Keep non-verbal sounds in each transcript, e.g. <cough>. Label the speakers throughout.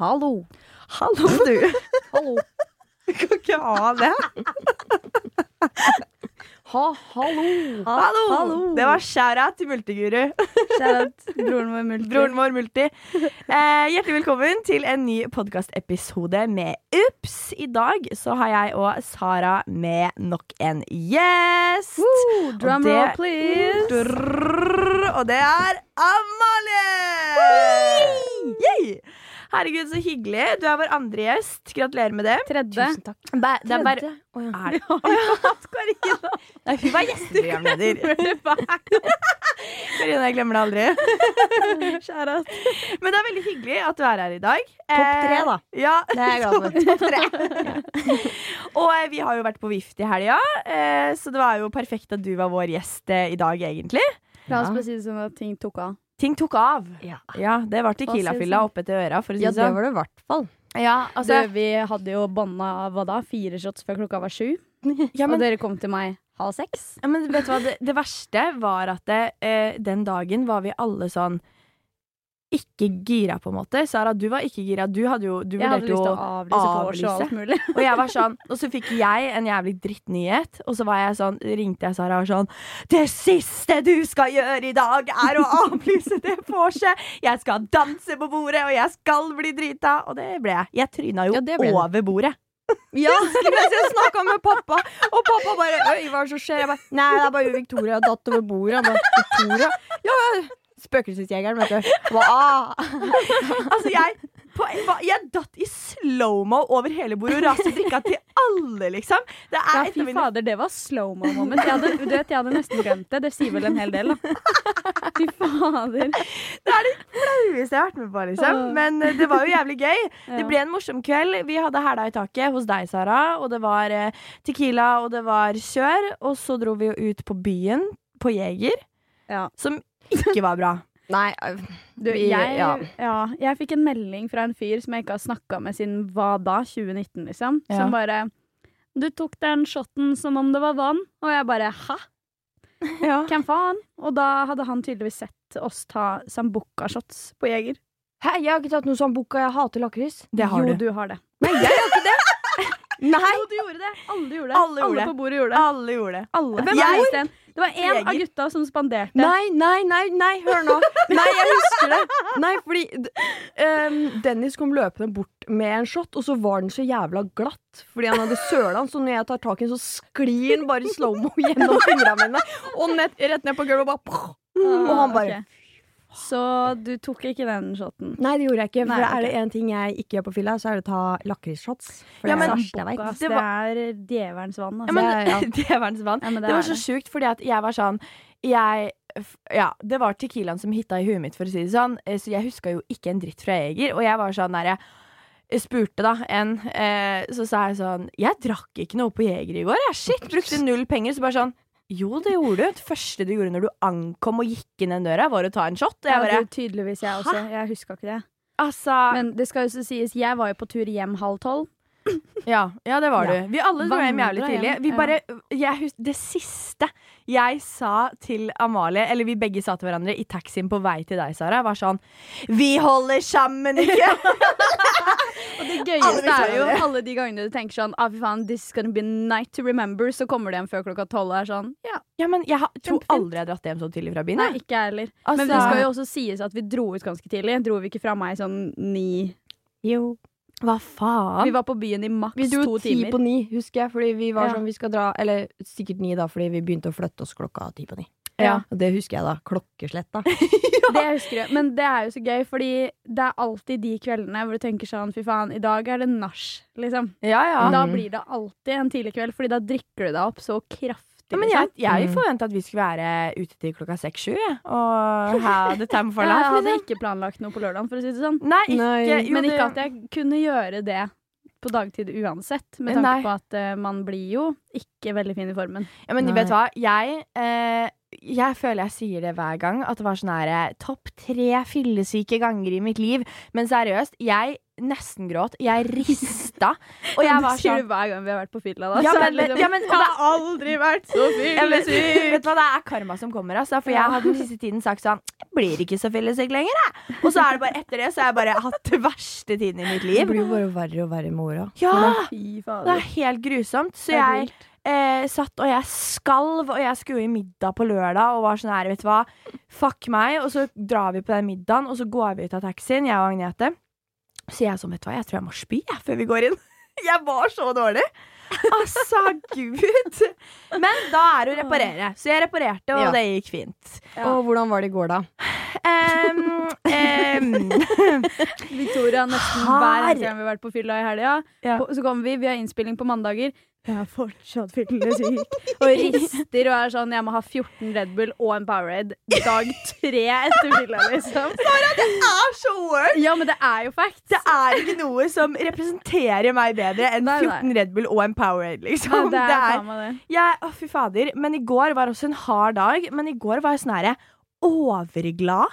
Speaker 1: Hallo.
Speaker 2: <laughs> Hallo, du.
Speaker 1: Hallo.
Speaker 2: Du kan ikke ha det.
Speaker 1: Ha, hallo.
Speaker 2: Hallo. Det var skjæra til Multiguru. <laughs>
Speaker 1: Kjært. Broren vår Multi.
Speaker 2: Broren vår Multi. Eh, hjertelig velkommen til en ny podkastepisode med Ups. I dag så har jeg og Sara med nok en gjest.
Speaker 1: Woo, drum
Speaker 2: Og det-
Speaker 1: roll, please.
Speaker 2: Drrrr, Og det er Amalie! Yay! Herregud, så hyggelig. Du er vår andre gjest. Gratulerer med det.
Speaker 1: Tredje.
Speaker 3: Tusen
Speaker 2: <laughs>
Speaker 3: takk.
Speaker 2: Bæ- Det er bare
Speaker 1: Tredje. Å, ja.
Speaker 2: Er det? <laughs> Karina. Nei, hun var gjesteprogramleder.
Speaker 1: <laughs>
Speaker 2: Karina, jeg glemmer det aldri.
Speaker 1: <laughs> Kjære.
Speaker 2: Men det er veldig hyggelig at du er her i dag.
Speaker 1: Topp tre,
Speaker 2: Eh,
Speaker 1: da.
Speaker 2: Ja,
Speaker 1: Det er jeg glad
Speaker 2: <laughs>
Speaker 1: for. Topp tre.
Speaker 2: og eh, vi har jo vært på Vift i helga, eh, så det var jo perfekt at du var vår gjest eh, i dag, egentlig.
Speaker 3: La oss bare si det sånn at ting tok av.
Speaker 2: Ting tok av.
Speaker 1: Ja.
Speaker 2: det var Tequila-fylla opp etter øra, for å si
Speaker 1: Ja,
Speaker 2: det
Speaker 1: det
Speaker 2: sånn.
Speaker 1: var det i hvert fall.
Speaker 2: Ja, altså,
Speaker 3: du, vi hadde jo banna hva da? Fire shots før klokka var sju.
Speaker 2: ja, men,
Speaker 3: Og dere kom til meg halv seks.
Speaker 2: ja, men vet du hva, det, det verste var at det, eh, den dagen var vi alle sånn ikke gira, på en måte. Sara, du var ikke gira. Du, hadde jo, du
Speaker 3: Jeg hadde
Speaker 2: vurderte jo
Speaker 3: lyst til å avlyse vors og
Speaker 2: avlyse.
Speaker 3: alt mulig.
Speaker 2: Og jeg var sånn Og så fikk jeg en jævlig drittnyhet Og så var jeg sånn, ringte jeg Sara og var sånn Det siste du skal gjøre i dag Er å avlyse det vorset Jeg skal danse på bordet Og jeg skal bli drita Og det ble jeg Jeg tryna jo
Speaker 1: Ja, det ble du.
Speaker 2: over bordet
Speaker 1: Ja, mens jeg snakka med pappa, og pappa bare Øy, hva er det som skjer? Jeg bare Nei, det er bare Victoria har datt over bordet. Han bare Victoria? Ja, ja. Spøkelsesjegeren, vet du. Hva? Ah.
Speaker 2: Altså jeg på, hva- jeg datt i slow-mo over hele bordet Og raste drikka til alle liksom Det
Speaker 3: Ja,
Speaker 2: er et
Speaker 3: fy
Speaker 2: av mine
Speaker 3: fader, det var slow mo moment. Jeg hadde, du vet, jeg hadde nesten glemt det. Det sier vel en hel
Speaker 2: <laughs>
Speaker 3: del, da. Fy fader.
Speaker 2: flaueste jeg har vært med på liksom Men eh, det var jo jævlig
Speaker 3: <laughs>
Speaker 2: gøy Det
Speaker 3: Ja.
Speaker 2: ble en morsom kveld. Vi hadde hæla i taket hos deg, Sara. Og det var eh, tequila, og det var kjør. Og så dro vi jo ut på byen, på Jeger,
Speaker 3: Ja.
Speaker 2: som ikke var bra.
Speaker 1: Nei,
Speaker 3: Du,
Speaker 1: Vi-
Speaker 3: jeg, ja.
Speaker 1: ja.
Speaker 3: jeg fikk en melding fra en fyr som jeg ikke har snakka med siden hva da, 2019, liksom.
Speaker 2: Ja.
Speaker 3: Som bare Du tok den shotten som om det var vann. Og jeg bare hæ?
Speaker 2: <laughs> Ja.
Speaker 3: Hvem faen? Og da hadde han tydeligvis sett oss ta sambuca-shots på Jeger.
Speaker 1: Hæ, jeg har ikke tatt noe sånn bukka. Jeg hater lakris.
Speaker 2: Det har
Speaker 3: jo,
Speaker 2: du.
Speaker 3: du har det.
Speaker 1: Nei!
Speaker 3: Jo, du gjorde det. Alle gjorde det.
Speaker 2: Alle gjorde det.
Speaker 3: på bordet gjorde det.
Speaker 2: Alle gjorde det.
Speaker 3: Alle.
Speaker 2: Hvem
Speaker 3: Jeg
Speaker 2: er
Speaker 3: visste en. Det var en av
Speaker 2: Jeger?
Speaker 3: gutta som spanderte.
Speaker 1: Nei, nei, nei, nei, hør nå. Nei, jeg husker det. Nei, fordi d- ehm, Dennis kom løpende bort med en shot, og så var den så jævla glatt fordi han hadde søla den, så når jeg tar tak i den, så sklir den bare i slow-mo <laughs> gjennom fingrene mine og nett, rett ned på gulvet og bare poff. Og han bare
Speaker 3: Ah, Ok. Så du tok ikke den shoten?
Speaker 1: Nei, det gjorde jeg ikke. For
Speaker 3: Nei,
Speaker 1: er det
Speaker 3: ok.
Speaker 1: én ting jeg ikke gjør på fylla, så er det å ta lakrisshots. For
Speaker 2: Ja,
Speaker 1: det
Speaker 2: men-
Speaker 1: er verst jeg vet.
Speaker 3: Bokas,
Speaker 2: det
Speaker 3: det, er djevelens vann,
Speaker 2: Ja,
Speaker 3: altså.
Speaker 2: men,
Speaker 1: Det
Speaker 3: <laughs>
Speaker 1: er- ja.
Speaker 2: <laughs> det var en svann.
Speaker 3: Ja, men
Speaker 2: Det var så sjukt, fordi at jeg var sånn Jeg f- ja, Det var Tequilaen som hitta i huet mitt, for å si det sånn. Eh, Så jeg huska jo ikke en dritt fra Jeger. Og jeg var sånn der jeg spurte da en, eh, så sa jeg sånn Jeg drakk ikke noe på Jeger i går. Jeg shit, brukte null penger. Så bare sånn Jo, det gjorde du. Det første du gjorde når du ankom og gikk inn den døra, var å ta en shot. Og jeg
Speaker 3: Ja,
Speaker 2: bare
Speaker 3: du, tydeligvis jeg også. Jeg huska ikke det.
Speaker 2: Altså
Speaker 3: Men det skal jo så sies, jeg var jo på tur hjem halv tolv.
Speaker 2: Ja, ja det var
Speaker 3: Ja.
Speaker 2: du. Vi alle dro hjem
Speaker 3: Vandra
Speaker 2: jævlig tidlig.
Speaker 3: hjem,
Speaker 2: Vi
Speaker 3: ja.
Speaker 2: bare, jeg hus det siste jeg sa til Amalie, eller vi begge sa til hverandre i taxien på vei til deg, Sara, var sånn Vi holder sammen, ikke?
Speaker 3: Og det
Speaker 2: Alle
Speaker 3: gøyeste
Speaker 2: visste
Speaker 3: er jo
Speaker 2: det.
Speaker 3: alle de gangene du tenker sånn ah, fy faen, this is gonna be a night to remember, så kommer du hjem før klokka tolv og er sånn ja,
Speaker 2: <laughs> ja, men jeg har- tror
Speaker 3: Kjempefint.
Speaker 2: aldri jeg har dratt hjem så tidlig fra byen.
Speaker 3: nei,
Speaker 2: jeg.
Speaker 3: ikke jeg heller.
Speaker 2: Altså,
Speaker 3: Men det skal jo også sies at vi dro ut ganske tidlig. Dro vi ikke fra meg sånn ni
Speaker 1: Jo.
Speaker 2: Hva faen?
Speaker 3: Vi var på byen i maks
Speaker 1: Vi dro
Speaker 3: to
Speaker 1: ti
Speaker 3: timer.
Speaker 2: <laughs>
Speaker 1: på ni, husker jeg. Fordi vi var
Speaker 3: Ja.
Speaker 1: sånn, vi skal dra Eller sikkert ni, da, fordi vi begynte å flytte oss klokka ti på ni.
Speaker 2: Ja.
Speaker 1: Og det husker jeg, da. Klokkeslett, da.
Speaker 3: Det husker jeg. Men det er jo så gøy, fordi det er alltid de kveldene hvor du tenker sånn fy faen, i dag er det nach, liksom.
Speaker 2: ja, ja.
Speaker 3: Da blir det alltid en tidlig kveld, Fordi da drikker du deg opp så kraftig. liksom. åtte.
Speaker 2: men jeg,
Speaker 3: Mm.
Speaker 2: jeg forventa at vi skulle være ute til klokka seks-sju, jeg. Og ha the time
Speaker 3: <laughs>
Speaker 2: for life.
Speaker 3: jeg hadde
Speaker 2: liksom.
Speaker 3: ikke planlagt noe på lørdagen, for å si det sånn.
Speaker 2: Nei, ikke,
Speaker 4: Nei.
Speaker 2: jo,
Speaker 3: Men
Speaker 2: det-
Speaker 3: ikke at jeg kunne gjøre det på dagtid uansett, med
Speaker 2: Nei.
Speaker 3: tanke på at eh, man blir jo ikke veldig fin i formen.
Speaker 2: Ja, men
Speaker 4: Nei.
Speaker 2: vet du hva? Jeg, eh, jeg føler jeg sier det hver gang, at det var sånn her eh, topp tre fyllesyke ganger i mitt liv. Men seriøst, jeg nesten gråt. Jeg
Speaker 3: <laughs>
Speaker 2: rista. Og jeg var
Speaker 3: sier
Speaker 2: sånn
Speaker 3: det hver gang vi har vært på fylla, da.
Speaker 2: ja,
Speaker 3: så er
Speaker 2: men,
Speaker 3: det liksom-
Speaker 2: ja, men, og det,
Speaker 3: aldri vært så
Speaker 2: jeg vet, vet du hva, det er karma som kommer, altså. For jeg hadde den siste tiden sagt sånn Jeg blir ikke så fyllesyk lenger, jeg. Og så er det bare etter det, så har jeg bare hatt det verste tiden i mitt
Speaker 1: Det
Speaker 2: liv.
Speaker 1: blir jo bare verre og verre med åra.
Speaker 2: Ja!
Speaker 3: Fy
Speaker 2: Det
Speaker 3: fader.
Speaker 2: er helt grusomt. Så
Speaker 3: Det er
Speaker 2: jeg eh, satt og jeg skalv, og jeg skulle i middag på lørdag og var sånn her, vet du hva, fuck meg. Og så drar vi på den middagen, og så går vi ut av taxien, jeg og Agnete. Så jeg er sånn, vet du hva, jeg tror jeg må spy jeg, før vi går inn. <laughs> Jeg var så dårlig. Altså, gud. Men da er det å reparere. Så jeg reparerte, og
Speaker 4: Ja.
Speaker 2: det gikk fint.
Speaker 4: Og hvordan var det i går, da?
Speaker 2: Em, em,
Speaker 3: Victoria nesten
Speaker 2: Har-
Speaker 3: hver eneste gang vi har vært på fylla i helga.
Speaker 2: Ja.
Speaker 3: på- Så kommer vi, vi har innspilling på mandager. Jeg er fortsatt fyllesyk. Og rister og er sånn Jeg må ha 14 Red Bull og en Powerade dag tre etter fylla,
Speaker 2: <laughs>
Speaker 3: liksom.
Speaker 2: er så work.
Speaker 3: Ja, men det er jo fact.
Speaker 2: Det er ikke noe som representerer meg bedre enn
Speaker 3: Nei, nei.
Speaker 2: 14 Red Bull og en Powerade,
Speaker 3: Ja,
Speaker 2: liksom.
Speaker 3: det er
Speaker 2: Det er-
Speaker 3: faen meg det.
Speaker 2: Jeg, å fy fader, men i går var også en hard dag. Men i går var jeg sånn herre overglad.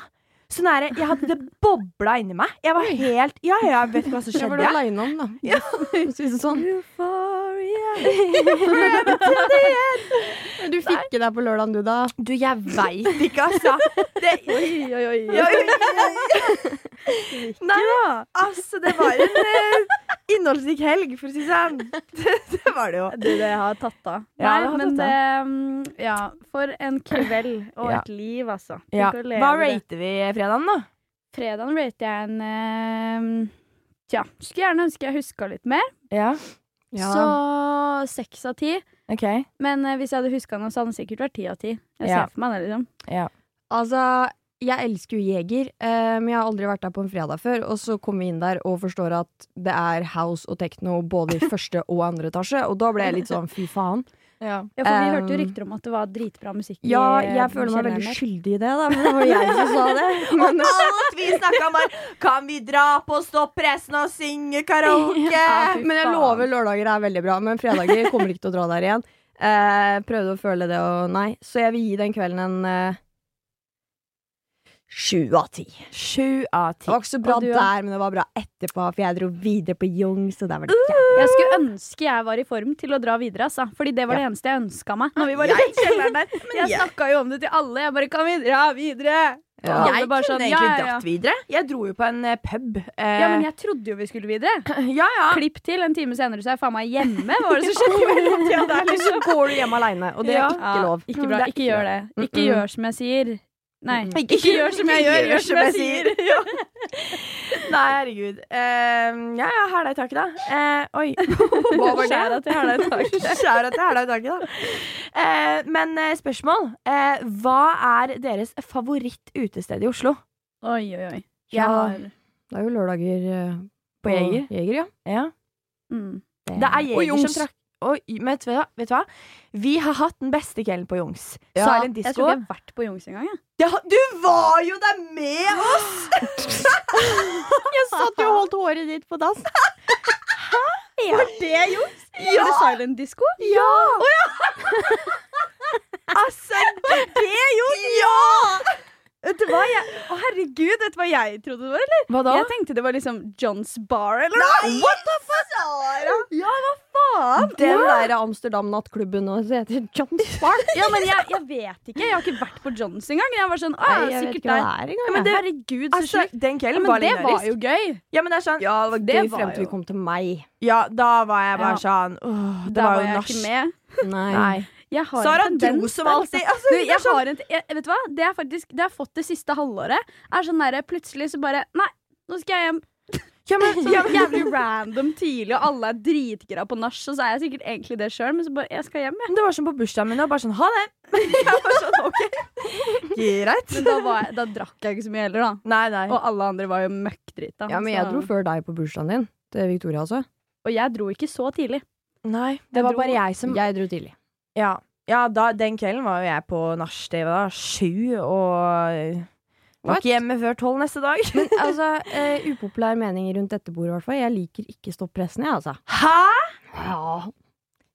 Speaker 2: Sånn herre, Jeg hadde det bobla inni meg. Jeg var helt Ja, ja, jeg vet ikke hva som
Speaker 1: Det var du
Speaker 2: skjedde. Jeg
Speaker 1: aleine om, da. <laughs> For å si det sånn.
Speaker 3: <laughs>
Speaker 1: Men du fikk ikke deg på lørdagen, du, da?
Speaker 2: Du, jeg veit <laughs> ikke, altså. Det,
Speaker 3: Oi, oi, oi.
Speaker 2: Ja, ja, ja. Nei, altså, det var en eh, innholdsrik helg, for å si det sånn. <laughs> Det, det var det jo.
Speaker 3: Du, det har tatt av.
Speaker 2: Ja,
Speaker 3: Nei,
Speaker 2: det har
Speaker 3: men
Speaker 2: tatt
Speaker 3: det mm, Ja, for en kveld og
Speaker 2: Ja.
Speaker 3: et liv, altså. Tenk
Speaker 2: Ja.
Speaker 3: å leve
Speaker 2: Hva
Speaker 3: det.
Speaker 2: rater vi fredagen, da?
Speaker 3: Fredagen rater jeg en eh, Tja, skulle gjerne ønske jeg huska litt mer.
Speaker 2: Ja,
Speaker 3: Så seks av ti.
Speaker 2: OK.
Speaker 3: Men eh, hvis jeg hadde huska noe, så hadde det sikkert vært ti av ti. Jeg
Speaker 2: Ja.
Speaker 3: ser for meg det, liksom.
Speaker 1: Altså, jeg elsker jo Jeger, eh, men jeg har aldri vært der på en fredag før. Og så kommer vi inn der og forstår at det er house og techno både
Speaker 2: <laughs>
Speaker 1: i første og andre etasje. Og da ble jeg litt sånn fy faen.
Speaker 3: Ja, for vi
Speaker 2: Ehm.
Speaker 1: Um,
Speaker 3: hørte jo rykter om at det var dritbra musikk i
Speaker 1: Ja,
Speaker 3: eh,
Speaker 1: jeg føler meg
Speaker 3: kjelleren
Speaker 1: veldig
Speaker 3: der.
Speaker 1: skyldig i det, da. Men det var jeg som sa
Speaker 2: <laughs>
Speaker 1: det. Men,
Speaker 2: Alt vi snakka om, var Kan vi dra på stoppressen og synge
Speaker 1: <laughs>
Speaker 2: karaoke?
Speaker 3: Ja, fy
Speaker 1: men jeg
Speaker 3: faen.
Speaker 1: lover lørdager er veldig bra, men fredager kommer ikke til å dra der igjen. Eh, prøvde å føle det, og nei. Så jeg vil gi den kvelden en eh, sju av ti. Det
Speaker 2: Sju av ti.
Speaker 1: var ikke så bra
Speaker 3: Og du, ja.
Speaker 1: der, men det var bra etterpå, for jeg dro videre på Young, så der var det jævlig.
Speaker 3: Jeg skulle ønske jeg var i form til å dra videre, altså. Fordi det var det eneste jeg ønska meg. Når vi var i den kjelleren <laughs> der Jeg snakka jo om det til alle. Jeg bare Kan vi dra videre?
Speaker 1: Ja.
Speaker 3: Jeg
Speaker 2: Jeg
Speaker 3: bare
Speaker 2: kunne
Speaker 3: sånn,
Speaker 2: egentlig
Speaker 3: ja, ja, ja.
Speaker 2: dratt videre. Jeg dro jo på en eh, pub. eh,
Speaker 3: Ja, men jeg trodde jo vi skulle videre.
Speaker 2: <laughs> ja, ja.
Speaker 3: Klipp til, en time senere så er jeg faen meg hjemme. Hva var det
Speaker 2: <laughs>
Speaker 3: som <laughs> skjedde?
Speaker 2: Ja, det er liksom-
Speaker 1: Så går du hjem aleine, og det er
Speaker 3: Ja.
Speaker 1: ikke
Speaker 2: Oh,
Speaker 1: lov.
Speaker 3: Ikke bra. Ikke gjør det. Ikke
Speaker 1: Mm-mm.
Speaker 3: gjør som jeg sier. Nei.
Speaker 2: Ikke gjør som jeg gjør, gjør som jeg sier.
Speaker 3: <laughs>
Speaker 2: Ja. Nei, herregud. Eh, ja, ja, hæla i taket, da. Eh,
Speaker 3: <laughs>
Speaker 2: oi. Hva var det? Skjæra til hæla i <laughs> taket. da. Eh, men eh, spørsmål. Eh, hva er deres favoritt-utested i Oslo?
Speaker 3: Oi, oi, oi.
Speaker 2: Jeg har-
Speaker 1: Det er jo lørdager eh,
Speaker 2: På Jeger?
Speaker 1: Jeger, ja.
Speaker 2: Ja.
Speaker 3: Mm.
Speaker 2: Det er
Speaker 1: Og
Speaker 2: Jeger
Speaker 1: Jungs.
Speaker 2: som trakk Oi, men vet du, hva, vet du hva? Vi har hatt den beste kvelden på Jungs.
Speaker 1: Ja,
Speaker 2: Silent
Speaker 3: Jeg
Speaker 2: Disco.
Speaker 3: tror ikke jeg har vært på Jungs engang. jeg.
Speaker 2: Det har- du var jo der med oss!
Speaker 1: <laughs> Jeg satt jo og holdt håret ditt på <laughs> dass.
Speaker 2: Var det Jungs? Ja!
Speaker 3: Var det Silent Disco?
Speaker 2: <gasps> Ja! <laughs> altså, det er jo Ja! Vet du hva jeg Å, herregud, vet du hva jeg trodde det var, eller?
Speaker 1: Hva
Speaker 3: Jeg tenkte det var liksom Johns Bar eller noe.
Speaker 2: What the fuck? Ja, hva faen?
Speaker 1: Den der Amsterdam-nattklubben og så heter John Spark.
Speaker 3: Ja, men jeg, jeg vet ikke. Jeg har ikke vært på Johns engang. Jeg var sånn,
Speaker 1: <laughs> Nei,
Speaker 3: å, jeg
Speaker 1: jeg
Speaker 3: er
Speaker 1: vet
Speaker 3: sikkert
Speaker 1: ikke hva
Speaker 3: der.
Speaker 1: det er engang.
Speaker 3: Ja, men
Speaker 1: jeg.
Speaker 3: det, herregud,
Speaker 2: <laughs>
Speaker 3: så
Speaker 2: Altså,
Speaker 3: sjukt.
Speaker 2: den
Speaker 3: Ja,
Speaker 2: kvelden
Speaker 3: men
Speaker 2: var
Speaker 3: det var
Speaker 2: legendarisk.
Speaker 3: jo gøy.
Speaker 2: Ja, men det er sånn
Speaker 1: ja, det var
Speaker 3: det
Speaker 1: gøy
Speaker 3: var
Speaker 1: frem til <laughs>
Speaker 3: jo-
Speaker 1: vi kom til meg.
Speaker 2: Ja, da var jeg bare
Speaker 3: Ja.
Speaker 2: sånn åh, Det
Speaker 3: Da
Speaker 2: var jo
Speaker 3: jeg
Speaker 2: nach.
Speaker 3: ikke med.
Speaker 1: Nei.
Speaker 2: Nei.
Speaker 3: Jeg har en
Speaker 2: Sara
Speaker 3: tendens
Speaker 2: dro som
Speaker 3: der,
Speaker 2: alltid.
Speaker 3: altså.
Speaker 2: Altså,
Speaker 3: Du,
Speaker 2: hun
Speaker 3: jeg
Speaker 2: er sånn
Speaker 3: har en, jeg, vet du hva? Det, er faktisk, det har jeg fått det siste halvåret. Er sånn der, Plutselig så bare Nei, nå skal jeg hjem.
Speaker 2: ja, men,
Speaker 3: Sånn jævlig random tidlig, og alle er dritgira på nach, og så er jeg sikkert egentlig det sjøl, men så bare Jeg skal hjem, jeg.
Speaker 2: Det var sånn på bursdagen min, og bare sånn ha <laughs> det. Jeg var sånn, <laughs> ok. Greit.
Speaker 3: Men da, var jeg, da drakk jeg ikke så mye heller, da.
Speaker 2: Nei, nei.
Speaker 3: Og alle andre var jo møkkdrita.
Speaker 1: <laughs> Ja, men jeg
Speaker 3: så-
Speaker 1: dro før deg på bursdagen din. Til Victoria, altså.
Speaker 3: Og jeg dro ikke så tidlig.
Speaker 2: nei.
Speaker 3: Jeg
Speaker 2: Det var
Speaker 3: dro-
Speaker 2: bare jeg som
Speaker 1: Jeg dro tidlig.
Speaker 2: Ja. Ja, da, den kvelden var jo jeg på nach til hva da, sju, og var
Speaker 1: What?
Speaker 2: ikke hjemme før tolv neste <laughs> dag.
Speaker 1: Altså, eh, Upopulær mening rundt dette bordet, i hvert fall. Jeg liker ikke stoppressen, jeg, altså.
Speaker 2: Hæ?!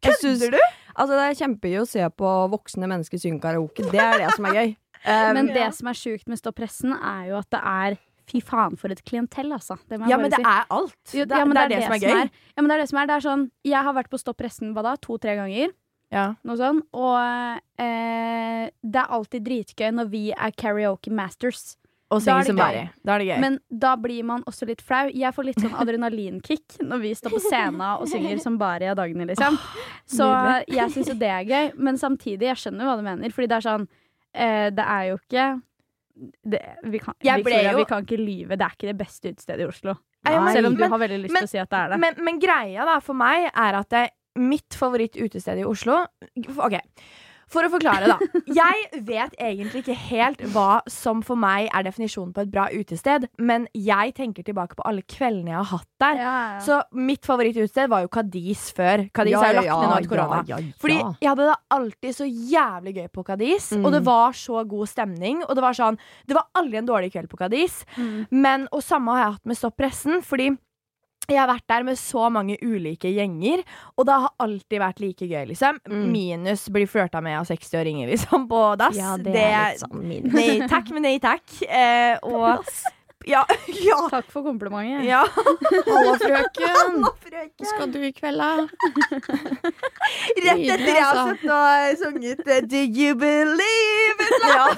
Speaker 1: Jeg syns- Altså, Det er kjempegøy å se på voksne mennesker synge karaoke. Det er det som er gøy. Um,
Speaker 3: Men det som er sjukt med Stopp pressen, er jo at det er fy faen for et klientell, altså. Det må jeg
Speaker 2: Ja,
Speaker 3: bare
Speaker 2: men det
Speaker 3: si.
Speaker 2: er alt.
Speaker 3: Jo,
Speaker 2: det, er- det er det, som er gøy.
Speaker 3: Ja, men det er det som er. Det er sånn, jeg har vært på Stopp pressen hva da, to-tre ganger.
Speaker 2: Ja.
Speaker 3: Noe sånn. Og eh, det er alltid dritgøy når vi er karaoke masters.
Speaker 2: Og
Speaker 3: Da er
Speaker 2: synge
Speaker 3: det
Speaker 2: som
Speaker 3: gøy.
Speaker 2: Mari. Da er det gøy.
Speaker 3: Men da blir man også litt flau. Jeg får litt sånn adrenalinkick <laughs> når vi står på scenen og synger som bare i dagene, liksom. Så jeg syns jo det er gøy. Men samtidig, jeg skjønner hva du mener. Fordi det er sånn eh, Det er jo ikke det, vi, kan,
Speaker 2: Jeg ble
Speaker 3: Victoria,
Speaker 2: jo-
Speaker 3: vi kan ikke lyve. Det er ikke det beste utestedet i Oslo.
Speaker 2: Nei, men-
Speaker 3: Selv om du
Speaker 2: men-
Speaker 3: har veldig lyst
Speaker 2: men-
Speaker 3: til å si at det er det.
Speaker 2: men, men greia da for meg er at det, mitt favorittutested i Oslo Ok, for å forklare, <laughs> da. Jeg vet egentlig ikke helt hva som for meg er definisjonen på et bra utested, men jeg tenker tilbake på alle kveldene jeg har hatt der. Så mitt favorittutested var jo Kadis før. Kadis er jo lagt ned nå etter korona.
Speaker 1: Ja, ja, ja.
Speaker 2: Fordi jeg hadde det alltid så jævlig gøy på Kadis,
Speaker 1: Mm.
Speaker 2: og det var så god stemning. Og det var sånn Det var aldri en dårlig kveld på Kadis. Men, og samme har jeg hatt med Stopp pressen, fordi jeg har vært der med så mange ulike gjenger, og det har alltid vært like gøy, liksom.
Speaker 1: Mm.
Speaker 2: Minus blir flørta med av 60-åringer, liksom, på dass.
Speaker 1: ja, det er litt sånn
Speaker 2: <laughs>
Speaker 1: min.
Speaker 2: Nei takk, men nei takk.
Speaker 1: <laughs>
Speaker 2: Eh, og ja, <laughs> ja,
Speaker 3: Takk for komplimentet.
Speaker 2: ja.
Speaker 1: Hallo, frøken.
Speaker 2: Nå, frøken.
Speaker 1: Hva skal du i kveld, da?
Speaker 2: Rett etter jeg har
Speaker 1: altså.
Speaker 2: sett og sunget eh, Do you believe in love?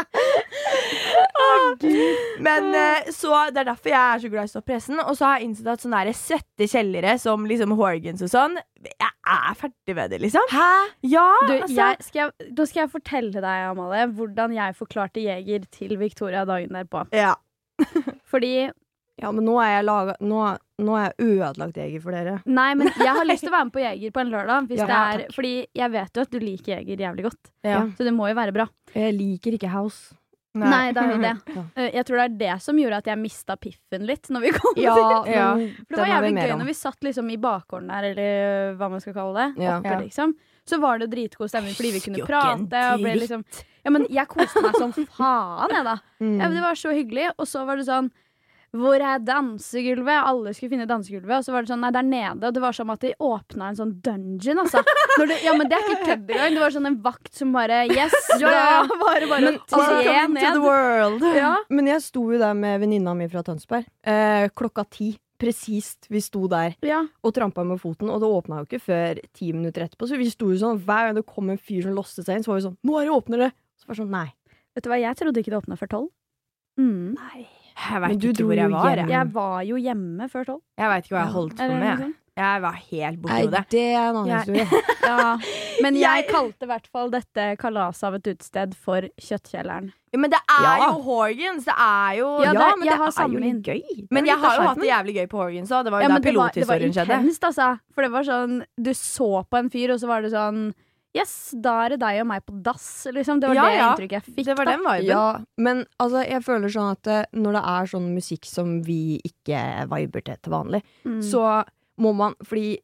Speaker 2: <laughs> Å, Gud. Ah. Men
Speaker 1: Ah.
Speaker 2: eh, så Det er derfor jeg er så glad i stoppressen. Og så har jeg innsett at sånne der svette kjellere som liksom Horgans og sånn Jeg er ferdig med det, liksom. Hæ? Ja,
Speaker 3: Du,
Speaker 2: altså.
Speaker 3: jeg, skal jeg, da skal jeg fortelle deg, Amalie, hvordan jeg forklarte Jeger til Victoria dagen derpå.
Speaker 2: ja.
Speaker 3: Fordi
Speaker 1: Ja, men nå er jeg, laga, nå, nå er jeg ødelagt jeger for dere.
Speaker 3: Nei, men jeg har lyst til å være med på Jeger på en lørdag. Hvis
Speaker 1: Ja,
Speaker 3: det er, fordi jeg vet jo at du liker Jeger jævlig godt.
Speaker 2: Ja.
Speaker 3: Så det må jo være bra.
Speaker 1: Jeg liker ikke House.
Speaker 3: Nei, det er jo det.
Speaker 1: Ja.
Speaker 3: Eh, Jeg tror det er det som gjorde at jeg mista piffen litt. Når vi kom
Speaker 1: Ja,
Speaker 2: <laughs> Ja.
Speaker 1: men
Speaker 3: For det
Speaker 1: den
Speaker 3: var
Speaker 1: har vi
Speaker 3: jævlig
Speaker 1: mer
Speaker 3: gøy
Speaker 1: om.
Speaker 3: når vi satt liksom i bakgården der, eller øh, hva man skal kalle det.
Speaker 1: Ja.
Speaker 3: Oppe,
Speaker 2: Ja.
Speaker 3: liksom. Så var det jo dritgod stemning fordi vi
Speaker 2: Husker
Speaker 3: kunne
Speaker 2: jo ikke en
Speaker 3: prate. Og ble
Speaker 2: dritt.
Speaker 3: liksom, ja, men jeg koste meg
Speaker 1: <laughs>
Speaker 3: som faen, jeg, da.
Speaker 1: Mm.
Speaker 3: Ja, men det var så hyggelig. Og så var det sånn Hvor er dansegulvet? Alle skulle finne dansegulvet. Og så var det sånn Nei, der nede. Og det var som at de åpna en sånn dungeon, altså. Når det, ja, men det er ikke kødd engang. Det var sånn en vakt som bare Yes!
Speaker 1: <laughs>
Speaker 2: Ja, ja,
Speaker 3: da Bare, bare
Speaker 1: Men,
Speaker 3: tre
Speaker 1: altså,
Speaker 2: Welcome to
Speaker 3: ned.
Speaker 2: the world.
Speaker 3: Ja.
Speaker 1: <laughs> Men jeg sto jo der med venninna mi fra Tønsberg eh, klokka ti. Presist. Vi sto der
Speaker 3: ja.
Speaker 1: og trampa med foten, og det åpna jo ikke før ti minutter etterpå. Så vi sto jo sånn, hver gang det kom en fyr som låste seg inn, så var vi sånn Nå er det åpner det! Så var det sånn, nei.
Speaker 3: Vet du hva, jeg trodde ikke det åpna før tolv. Mm.
Speaker 2: Jeg
Speaker 1: Men
Speaker 2: veit
Speaker 1: du
Speaker 2: ikke
Speaker 1: dro
Speaker 2: hvor
Speaker 1: jo
Speaker 2: jeg var.
Speaker 1: hjem.
Speaker 2: Jeg,
Speaker 3: Jeg var jo hjemme før tolv.
Speaker 2: jeg veit ikke hva jeg holdt på
Speaker 3: eller noe
Speaker 2: med.
Speaker 3: sånt.
Speaker 2: Jeg var helt borti
Speaker 1: Nei,
Speaker 2: hodet.
Speaker 1: det er en annen
Speaker 2: Jeg- <laughs>
Speaker 1: historie.
Speaker 3: Ja. Men jeg
Speaker 2: Jeg-
Speaker 3: kalte i hvert fall dette kalaset av et utested for Kjøttkjelleren.
Speaker 2: Ja, men det er
Speaker 1: Ja.
Speaker 2: jo Horgans. Det er jo
Speaker 3: Ja, det-
Speaker 1: men
Speaker 3: jeg
Speaker 1: det
Speaker 3: har
Speaker 1: er
Speaker 3: samme
Speaker 1: jo
Speaker 3: min.
Speaker 1: litt gøy.
Speaker 2: Men
Speaker 3: Det
Speaker 2: jeg har
Speaker 3: er litt av
Speaker 2: jo hatt
Speaker 3: skjermen.
Speaker 2: det jævlig gøy på Horgans òg. Det var jo
Speaker 3: Ja,
Speaker 2: da
Speaker 3: men det var, det var
Speaker 2: pilothistorien skjedde.
Speaker 3: intenst, altså. For det var sånn Du så på en fyr, og så var det sånn Yes, da er det deg og meg på dass, liksom. Det var
Speaker 2: Ja,
Speaker 3: det
Speaker 2: ja.
Speaker 3: inntrykket jeg fikk.
Speaker 2: Det var
Speaker 3: da.
Speaker 2: den viben.
Speaker 1: Ja, men altså, jeg føler sånn at eh, når det er sånn musikk som vi ikke viber til til vanlig,
Speaker 3: Mm.
Speaker 1: så må man Fordi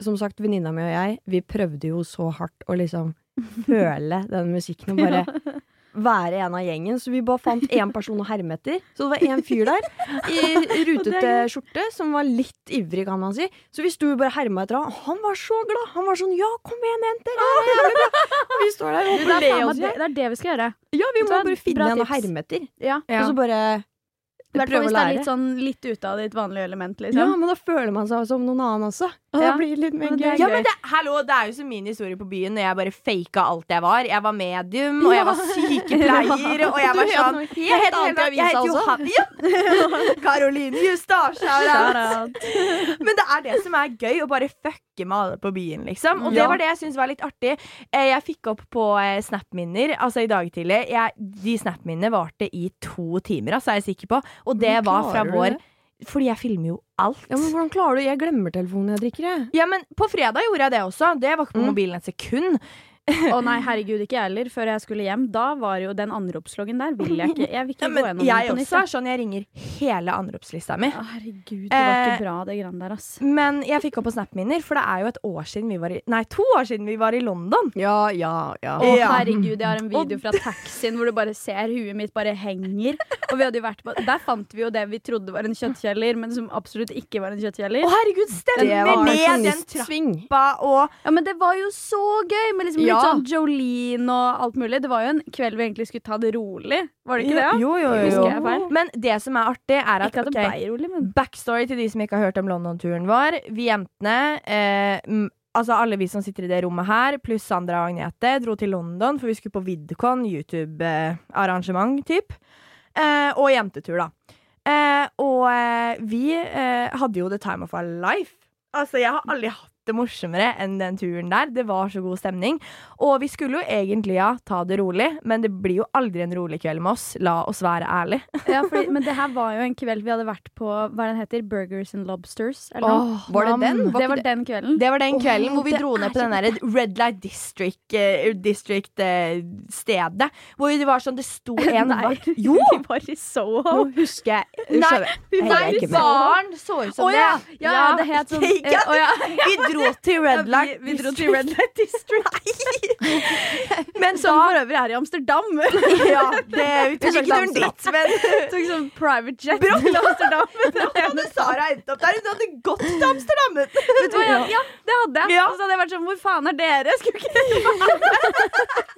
Speaker 1: som sagt, venninna mi og jeg, vi prøvde jo så hardt å liksom
Speaker 3: <laughs>
Speaker 1: føle den musikken og bare være en av gjengen. Så vi bare fant én person å herme etter. Så det var én fyr der
Speaker 3: <laughs>
Speaker 1: i rutete skjorte som var litt ivrig, kan man si. Så vi sto jo bare og herma etter han. og Han var så glad! Han var sånn 'ja, kom igjen, jenter'. Ja, det er jævlig bra. Og vi står der
Speaker 3: Du,
Speaker 1: og
Speaker 3: det, er
Speaker 1: ler
Speaker 3: faen meg
Speaker 1: oss i
Speaker 3: det, det er det vi skal gjøre.
Speaker 1: Ja, vi
Speaker 3: Vet
Speaker 1: må
Speaker 3: du hva?
Speaker 1: bare finne
Speaker 3: Bra
Speaker 1: en å
Speaker 3: tips.
Speaker 1: herme etter.
Speaker 3: Ja.
Speaker 1: Og så bare
Speaker 3: I hvert fall
Speaker 1: prøve å
Speaker 3: hvis det er
Speaker 1: lære.
Speaker 3: litt sånn litt ute av ditt vanlige element,
Speaker 1: Ja,
Speaker 3: liksom.
Speaker 1: men da føler man seg som noen annen også. Det
Speaker 3: Ja.
Speaker 1: blir litt mer
Speaker 3: Men det
Speaker 1: gøy.
Speaker 3: er
Speaker 2: Ja, men det, hallo, det er jo som min historie på byen, når jeg bare faka alt jeg var. Jeg var medium, og jeg var sykepleier,
Speaker 1: <laughs>
Speaker 2: og jeg var sånn Jeg het
Speaker 1: annet i avisa
Speaker 2: <laughs> Johan Karoline Justasje. her, da.
Speaker 3: Shout out.
Speaker 2: Men det er det som er gøy, å bare fucke med alle på byen, liksom. Og det
Speaker 1: Ja.
Speaker 2: var det jeg syntes var litt artig. Eh, Jeg fikk opp på eh, Snap-minner, altså i dag tidlig. Jeg, de Snap-minnene varte i to timer, altså, er jeg sikker på. Og det
Speaker 1: Hvordan
Speaker 2: var fra
Speaker 1: klarer du
Speaker 2: vår
Speaker 1: det?
Speaker 2: Fordi jeg filmer jo alt.
Speaker 1: Ja, men hvordan klarer du? Jeg glemmer telefonen jeg drikker, jeg.
Speaker 2: Ja, men på fredag gjorde jeg det også. Det var ikke på
Speaker 1: Mm.
Speaker 2: mobilen et sekund.
Speaker 3: Å nei, herregud, ikke jeg heller. Før jeg skulle hjem. Da var jo den anropsloggen der. Vil jeg ikke. <laughs> Jeg vil ikke
Speaker 2: Ja, men
Speaker 3: gå gjennom
Speaker 2: jeg
Speaker 3: den på nytt.
Speaker 2: også er sånn jeg ringer hele anropslista mi.
Speaker 3: jeg. Å, Herregud, det var
Speaker 2: Eh,
Speaker 3: ikke bra, det greiene der, ass.
Speaker 2: Men jeg fikk opp på Snap-minner, for det er jo et år siden vi var i Nei, to år siden vi var i London.
Speaker 1: Ja, ja, ja.
Speaker 3: Å,
Speaker 2: Ja.
Speaker 3: herregud, jeg har en video fra taxien hvor du bare ser huet mitt bare henger. Og vi hadde jo vært på Der fant vi jo det vi trodde var en kjøttkjeller, men som absolutt ikke var en
Speaker 2: Å,
Speaker 3: kjøttkjeller.
Speaker 2: herregud,
Speaker 1: Det
Speaker 2: stemmer!
Speaker 1: var sånn
Speaker 2: Med den
Speaker 1: pensjonistsving.
Speaker 2: trappa og
Speaker 3: Ja, men det var jo så gøy! Med liksom litt
Speaker 1: Ja.
Speaker 3: sånn Jolene og alt mulig. Det var jo en kveld vi egentlig skulle ta det rolig. Var det ikke det?
Speaker 2: Jo, jo, jo.
Speaker 3: Husker jeg feil?
Speaker 2: jo. Men det som er artig, er at
Speaker 3: Ikke at det
Speaker 2: ok,
Speaker 3: ble rolig, men
Speaker 2: Backstory til de som ikke har hørt om London-turen vår. Vi jentene, eh, m- altså alle vi som sitter i det rommet her, pluss Sandra og Agnete, dro til London, for vi skulle på VidCon, YouTube-arrangement, typ. Eh, og jentetur, da. Eh, og eh, vi eh, hadde jo the time of our life. Altså, jeg har aldri hatt det morsommere enn den turen der. Det var så god stemning. Og vi skulle jo egentlig ja, ta det rolig, men det blir jo aldri en rolig kveld med oss. La oss være ærlig.
Speaker 3: Ja, fordi, men det her var jo en kveld vi hadde vært på Hva er den heter? Burgers and Lobsters? Eller noe.
Speaker 1: Var det den?
Speaker 3: det var den kvelden.
Speaker 2: Det var den
Speaker 3: Åh,
Speaker 2: kvelden hvor vi
Speaker 3: det
Speaker 2: dro
Speaker 3: er
Speaker 2: ned på
Speaker 3: så
Speaker 2: den der Red Light District, eh, district eh, stedet. Hvor det var sånn, det sto en
Speaker 3: <laughs> Nei.
Speaker 2: vakt Jo!
Speaker 3: <laughs> Vi var i Soho.
Speaker 2: Nå husker jeg Skjønner jeg.
Speaker 3: vi
Speaker 2: Nei,
Speaker 3: var
Speaker 2: jeg er
Speaker 3: i
Speaker 2: ikke med.
Speaker 3: baren.
Speaker 2: Så ut
Speaker 3: Å ja. ja, det het sånn
Speaker 2: <laughs> Ikke
Speaker 3: eh,
Speaker 2: at-
Speaker 3: å ja.
Speaker 2: Vi dro til Red
Speaker 3: Ja, vi-
Speaker 2: Light
Speaker 3: vi dro til
Speaker 2: District.
Speaker 3: Red Light
Speaker 2: <laughs>
Speaker 3: District. Men som for øvrig er i <laughs> Amsterdam.
Speaker 2: ja, det,
Speaker 3: <laughs>
Speaker 2: vi tok ikke turen dit, men
Speaker 3: Tok sånn private jet
Speaker 2: <laughs> Brått.
Speaker 3: til Amsterdam.
Speaker 2: Brått hadde Sara endt opp der. Hun hadde gått til Amsterdam.
Speaker 3: Vet du hva, ja, ja, det hadde jeg.
Speaker 2: Ja.
Speaker 3: Og så hadde jeg vært sånn, hvor faen
Speaker 2: <laughs>
Speaker 3: er dere? Skulle ikke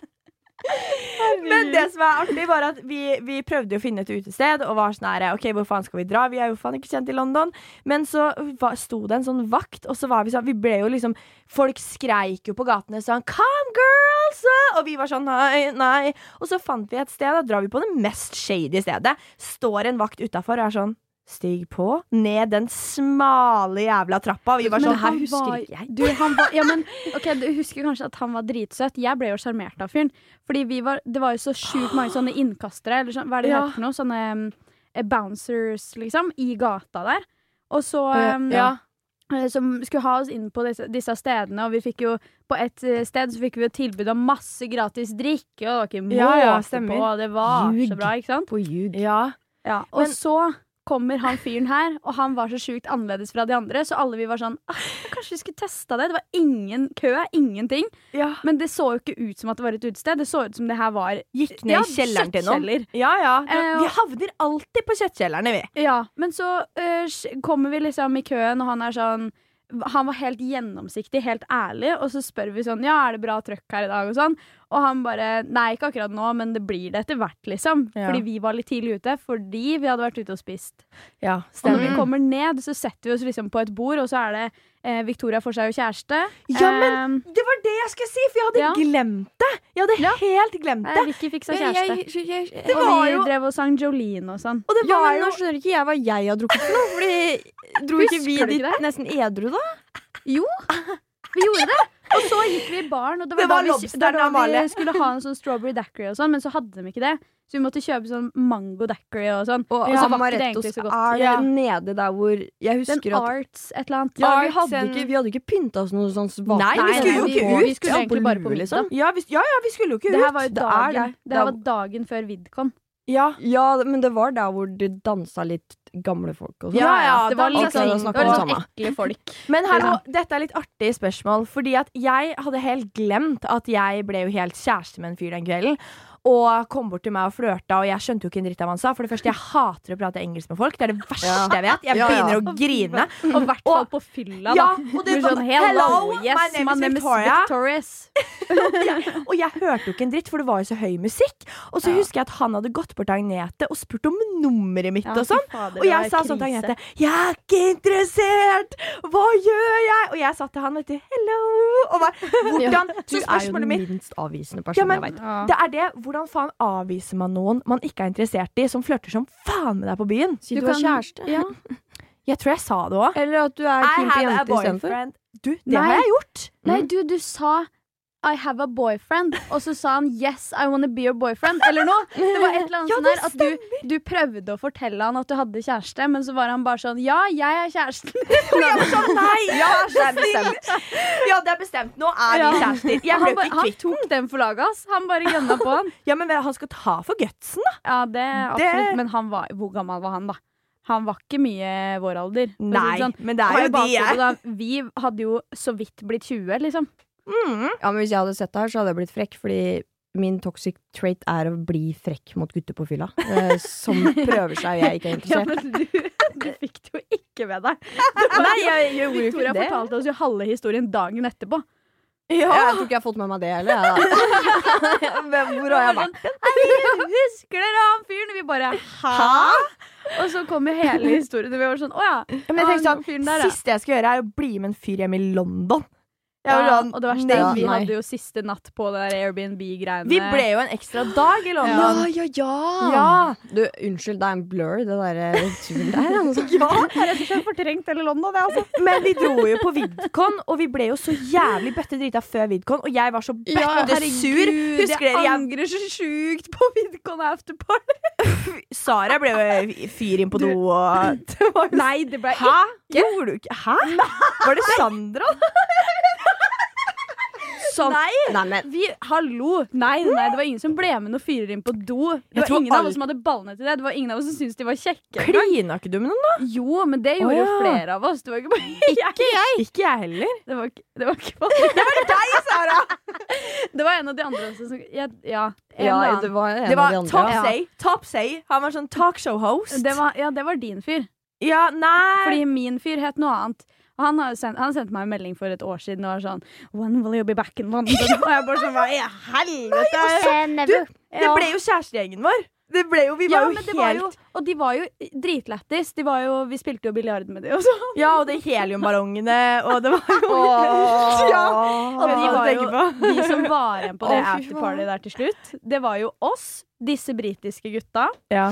Speaker 2: Men det som er artig, var at vi, vi prøvde å finne et utested, og var sånn her OK, hvor faen skal vi dra? Vi er jo faen ikke kjent i London. Men så var, sto det en sånn vakt, og så var vi sånn Vi ble jo liksom Folk skreik jo på gatene sånn Come, girls! Og vi var sånn nei, nei. Og så fant vi et sted, da drar vi på det mest shady stedet. Står en vakt utafor og er sånn Stig på. Ned den smale jævla trappa. Og vi var
Speaker 3: Men
Speaker 2: sånn Her
Speaker 3: han var-
Speaker 2: husker ikke jeg.
Speaker 3: Du, han var, ja, men, ok, du husker kanskje at han var dritsøt. Jeg ble jo sjarmert av fyren. Fordi vi var, det var jo så sjukt mange sånne innkastere, eller sånn, hva er det det
Speaker 2: Ja.
Speaker 3: heter for noe? Sånne um, eh, bouncers, liksom, i gata der. Og så um,
Speaker 2: Ja.
Speaker 3: eh, Som skulle ha oss inn på disse, disse stedene, og vi fikk jo på et eh, sted så fikk vi jo tilbud om masse gratis drikke, og det var ikke måte
Speaker 2: Ja, ja,
Speaker 3: på,
Speaker 2: stemmer.
Speaker 3: og det var
Speaker 1: Ljug.
Speaker 3: så bra, ikke sant?
Speaker 1: På ljug.
Speaker 2: ja.
Speaker 3: Ja, og
Speaker 2: Men-
Speaker 3: så kommer han fyren her, og han var så sjukt annerledes fra de andre, så alle vi var sånn ah, Kanskje vi skulle testa det? Det var ingen kø, ingenting.
Speaker 2: ja.
Speaker 3: Men det så jo ikke ut som at det var et utested. Det så ut som det her var
Speaker 2: Gikk ned
Speaker 3: Ja,
Speaker 2: i kjelleren til noen.
Speaker 3: kjøttkjeller.
Speaker 2: Ja, ja. Det,
Speaker 3: Eh,
Speaker 2: vi havner alltid på kjøttkjellerne, vi.
Speaker 3: Ja, men så eh, sj- kommer vi liksom i køen, og han er sånn han var helt gjennomsiktig, helt ærlig, og så spør vi sånn Ja, er det bra trøkk her i dag? Og sånn. Og han bare Nei, ikke akkurat nå, men det blir det etter hvert, liksom.
Speaker 2: Ja.
Speaker 3: Fordi vi var litt tidlig ute, fordi vi hadde vært ute og spist.
Speaker 2: Ja,
Speaker 3: Og når vi
Speaker 2: Mm.
Speaker 3: kommer ned, så setter vi oss liksom på et bord, og så er det eh, Victoria får seg jo kjæreste.
Speaker 2: Ja, men
Speaker 3: Ehm,
Speaker 2: det var det jeg skulle si, for jeg hadde
Speaker 3: Ja.
Speaker 2: glemt det! Jeg hadde
Speaker 3: Ja.
Speaker 2: helt glemt
Speaker 3: eh,
Speaker 2: det.
Speaker 3: Vicky fikk seg kjæreste.
Speaker 2: Det
Speaker 3: og
Speaker 2: var
Speaker 3: vi
Speaker 2: jo
Speaker 3: drev og sang Jolene og sånn.
Speaker 2: Og det
Speaker 1: Eh, Ja,
Speaker 2: var
Speaker 1: men
Speaker 2: jo
Speaker 1: nå skjønner ikke jeg hva jeg har drukket for noe. Fordi dro ikke vi
Speaker 3: Husker du
Speaker 1: dit
Speaker 3: ikke
Speaker 1: nesten edru, da?
Speaker 3: Vi gjorde det! Og så gikk vi i baren, og det var,
Speaker 2: Det var
Speaker 3: da vi,
Speaker 2: lobsteren
Speaker 3: det var da vi
Speaker 2: Amalie.
Speaker 3: skulle ha en sånn strawberry daiquiri og sånn, men så hadde de ikke det. Så vi måtte kjøpe sånn mango daiquiri og sånn.
Speaker 1: Og
Speaker 3: Ja.
Speaker 1: ja,
Speaker 3: Amarettos
Speaker 1: Amarettos er
Speaker 2: Ja.
Speaker 1: nede der hvor Jeg
Speaker 3: Den
Speaker 1: husker at
Speaker 3: Arts et eller annet.
Speaker 1: ja, vi,
Speaker 2: Arts
Speaker 1: hadde
Speaker 2: and-
Speaker 1: ikke, vi hadde ikke pynta oss noe sånn svakt.
Speaker 2: Nei, vi skulle jo
Speaker 3: vi-
Speaker 2: ikke ut. liksom.
Speaker 3: Vi skulle
Speaker 1: Ja,
Speaker 3: egentlig bare på
Speaker 1: lue,
Speaker 3: middag.
Speaker 2: ja vi, ja, ja, vi skulle jo ikke ut.
Speaker 3: Det her var jo
Speaker 2: Det er
Speaker 3: dagen,
Speaker 2: det.
Speaker 3: det her var dagen før VidCon.
Speaker 2: Ja.
Speaker 1: Ja, men det var der hvor det dansa litt gamle folk og sånn.
Speaker 2: Ja, ja,
Speaker 3: det
Speaker 2: da-
Speaker 3: var litt
Speaker 1: ok, da
Speaker 3: sånn,
Speaker 1: snakker
Speaker 3: det var
Speaker 1: vi
Speaker 3: litt
Speaker 1: om
Speaker 3: sånn
Speaker 1: det
Speaker 3: ekle folk.
Speaker 2: Men hallo, dette er litt artig spørsmål, fordi at jeg hadde helt glemt at jeg ble jo helt kjæreste med en fyr den kvelden. Og kom bort til meg og flørta, og jeg skjønte jo ikke en dritt av hva han sa. For det første, jeg hater å prate engelsk med folk. Det er det verste jeg vet. Jeg
Speaker 1: Ja, ja.
Speaker 2: begynner å grine.
Speaker 3: Og i hvert fall på fylla, da.
Speaker 2: Ja, og det
Speaker 3: Hvor
Speaker 2: var
Speaker 3: sånn,
Speaker 2: Hello,
Speaker 3: yes,
Speaker 2: my name is Victoria.
Speaker 3: Victorious.
Speaker 2: Og jeg hørte jo ikke en dritt, for det var jo så høy musikk. Og så husker jeg at han hadde gått bort til Agnete og spurt om nummeret mitt og sånn. Og jeg sa sånn til Agnete Jeg er ikke interessert! Hva gjør jeg? Og jeg sa til han, vet du, hello!
Speaker 1: <laughs>
Speaker 2: Og bare, hvordan?
Speaker 1: Du
Speaker 2: Så
Speaker 1: er jo den
Speaker 2: spørsmålet mitt
Speaker 1: minst avvisende
Speaker 2: ja,
Speaker 1: personen
Speaker 2: men,
Speaker 1: jeg veit.
Speaker 2: det er det. Hvordan faen avviser man noen man ikke er interessert i, som flørter som faen med deg på byen?
Speaker 1: Si du, har kjæreste.
Speaker 3: Ja.
Speaker 2: Jeg tror jeg sa det òg.
Speaker 1: Eller at du er keen på jenter istedenfor. Mm.
Speaker 2: <laughs> Du, det har jeg gjort.
Speaker 3: Nei, du, du sa I have a boyfriend. Og så sa han yes, I wanna be your boyfriend. Eller noe. Det var et eller annet sånn her at du, du prøvde å fortelle han at du hadde kjæreste, men så var han bare sånn ja, jeg er kjæresten.
Speaker 2: sånn, Nei! <laughs> Ja, det er bestemt. Ja, det er bestemt. Nå er vi
Speaker 3: Ja.
Speaker 2: kjærester. Jeg
Speaker 3: Han,
Speaker 2: ble
Speaker 3: bare,
Speaker 2: ikke
Speaker 3: han
Speaker 2: kvitt
Speaker 3: tok den for laget, ass. Han bare gønna på han.
Speaker 2: Ja, men han skal ta for gutsen, da.
Speaker 3: Ja, det er
Speaker 2: Det-
Speaker 3: absolutt. Men han var, hvor gammel var han, da? Han var ikke mye vår alder. for å si det
Speaker 2: Nei,
Speaker 3: sånn.
Speaker 2: men det
Speaker 3: Har
Speaker 2: er jo
Speaker 3: jeg
Speaker 2: de
Speaker 3: bakhodet
Speaker 2: Liksom jeg
Speaker 3: da, Vi hadde jo så vidt blitt
Speaker 2: <laughs>
Speaker 3: 20, liksom.
Speaker 1: Ja, men Hvis jeg hadde sett det her, så hadde jeg blitt frekk, fordi min toxic trait er å bli frekk mot gutter på fylla. Eh, Som prøver seg, og jeg
Speaker 2: <laughs>
Speaker 1: ikke er
Speaker 3: Ja,
Speaker 1: interessert.
Speaker 3: men <laughs> du, du fikk det jo ikke med deg.
Speaker 2: Nei, jeg gjorde jo
Speaker 3: Victoria
Speaker 2: ikke det.
Speaker 3: fortalte oss jo halve historien dagen etterpå.
Speaker 1: Jeg tror ikke jeg har fått med meg det heller. jeg, da.
Speaker 2: <laughs>
Speaker 1: <laughs>
Speaker 2: Men hvor har jeg vært?
Speaker 3: Jeg husker dere han fyren? Og Vi bare hæ? Og så kom jo hele historien. Og vi var sånn å ja.
Speaker 2: Men
Speaker 1: Ah,
Speaker 2: jeg tenkte
Speaker 3: han fyren der,
Speaker 2: sånn,
Speaker 3: ja.
Speaker 2: Siste jeg skal gjøre, er å bli med en fyr hjem i London. Jeg var
Speaker 3: ja.
Speaker 2: sånn,
Speaker 3: Og det verste er
Speaker 2: nei.
Speaker 3: at vi
Speaker 1: nei.
Speaker 3: hadde jo siste natt på det der Airbnb-greiene.
Speaker 2: Vi ble jo en ekstra dag i London.
Speaker 1: ja, ja. Du, unnskyld, det er en blur, det derre turen der. Altså.
Speaker 2: <laughs>
Speaker 3: rett og slett fortrengt hele London, det, altså.
Speaker 2: Men vi dro jo på VidCon, og vi ble jo så jævlig bøtte drita før VidCon. Og jeg var så bøtte sur. Husker dere
Speaker 3: jeg
Speaker 2: jeg,
Speaker 3: angrer så sjukt på Vidcon afterparty.
Speaker 2: Sara ble jo fyr inn på do og det var jo-
Speaker 3: Nei, <laughs> det ble
Speaker 2: Hæ? Gjorde du ikke Hæ? Var det Sandra?
Speaker 3: <laughs> sånn.
Speaker 1: Nei, men
Speaker 3: Vi, hallo! Nei, nei, det var ingen som ble med noen fyrer inn på do.
Speaker 2: Jeg
Speaker 3: Det var
Speaker 2: tror
Speaker 3: ingen av
Speaker 2: alle-
Speaker 3: oss som hadde ballene til det. Det var ingen av oss som syntes de var kjekke.
Speaker 2: Klina ikke du med noen, da?
Speaker 3: Jo, men det gjorde
Speaker 2: Å,
Speaker 3: jo
Speaker 2: ja.
Speaker 3: flere av oss. Det var ikke bare jeg.
Speaker 2: Ikke jeg heller.
Speaker 3: Det var, ikke- det var ikke <laughs> bare jeg.
Speaker 2: Deg, Sara!
Speaker 3: Det var en av de andre også som Ja. ja, en
Speaker 1: ja,
Speaker 3: eller annen.
Speaker 1: det var en
Speaker 2: Det
Speaker 1: av de
Speaker 2: var
Speaker 1: andre.
Speaker 2: Top
Speaker 3: ja.
Speaker 2: Say. Top Say. Han var sånn talkshow-host.
Speaker 3: det var, ja, det var din fyr.
Speaker 2: Ja, nei
Speaker 3: Fordi min fyr het noe annet. Og Han, har jo sendt, han sendte meg en melding for et år siden og var sånn When will you be back in <laughs> London? Og jeg bare sånn Hva i helvete?
Speaker 2: Det ble jo kjærestegjengen vår. Det ble jo, vi var
Speaker 3: ja,
Speaker 2: jo sånn. helt
Speaker 3: men det var jo, og de var jo dritlættis. De var jo, vi spilte jo biljard med de og sånn.
Speaker 2: Ja, og det heliumballongene, og det var jo <laughs> ja,
Speaker 3: Og de var
Speaker 2: tenker på.
Speaker 3: jo <laughs> de som var igjen på det
Speaker 1: Å, fy
Speaker 3: afterparty der til slutt. Det var jo oss, disse britiske gutta.
Speaker 2: <laughs> Ja.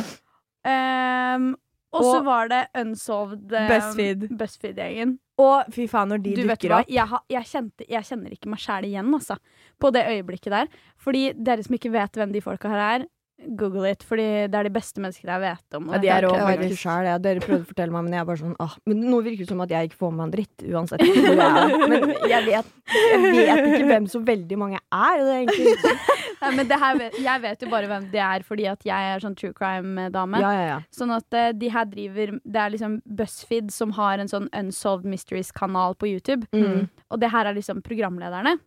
Speaker 3: Ehm, og så
Speaker 2: Og-
Speaker 3: var det Unsolved ehm,
Speaker 2: BuzzFeed.
Speaker 3: Buzzfeed-gjengen.
Speaker 2: Og fy faen, når de
Speaker 3: Du vet
Speaker 2: dukker
Speaker 3: hva,
Speaker 2: opp
Speaker 3: jeg, har- jeg, kjente, jeg kjenner ikke meg sjæl igjen, altså. På det øyeblikket der. Fordi dere som ikke vet hvem de folka her er, google it. Fordi det er de beste menneskene jeg vet om.
Speaker 2: Ja, de er rå,
Speaker 1: Jeg vet
Speaker 2: faktisk.
Speaker 1: ikke selv, jeg. Dere prøvde å fortelle meg, men jeg er bare sånn ah. Men nå virker det som at jeg ikke får med meg en dritt,
Speaker 2: <laughs>
Speaker 1: uansett. Hvor jeg er. Men jeg vet, jeg vet ikke hvem så veldig mange er. og Det er egentlig
Speaker 2: <laughs>
Speaker 3: Nei, men det her, vet- jeg vet jo bare hvem de er, fordi at jeg er sånn true crime-dame.
Speaker 1: Ja, ja, ja.
Speaker 3: Sånn at eh, de her driver Det er liksom BuzzFeed som har en sånn Unsolved Mysteries-kanal på YouTube.
Speaker 1: Mm.
Speaker 3: Og det her er liksom programlederne.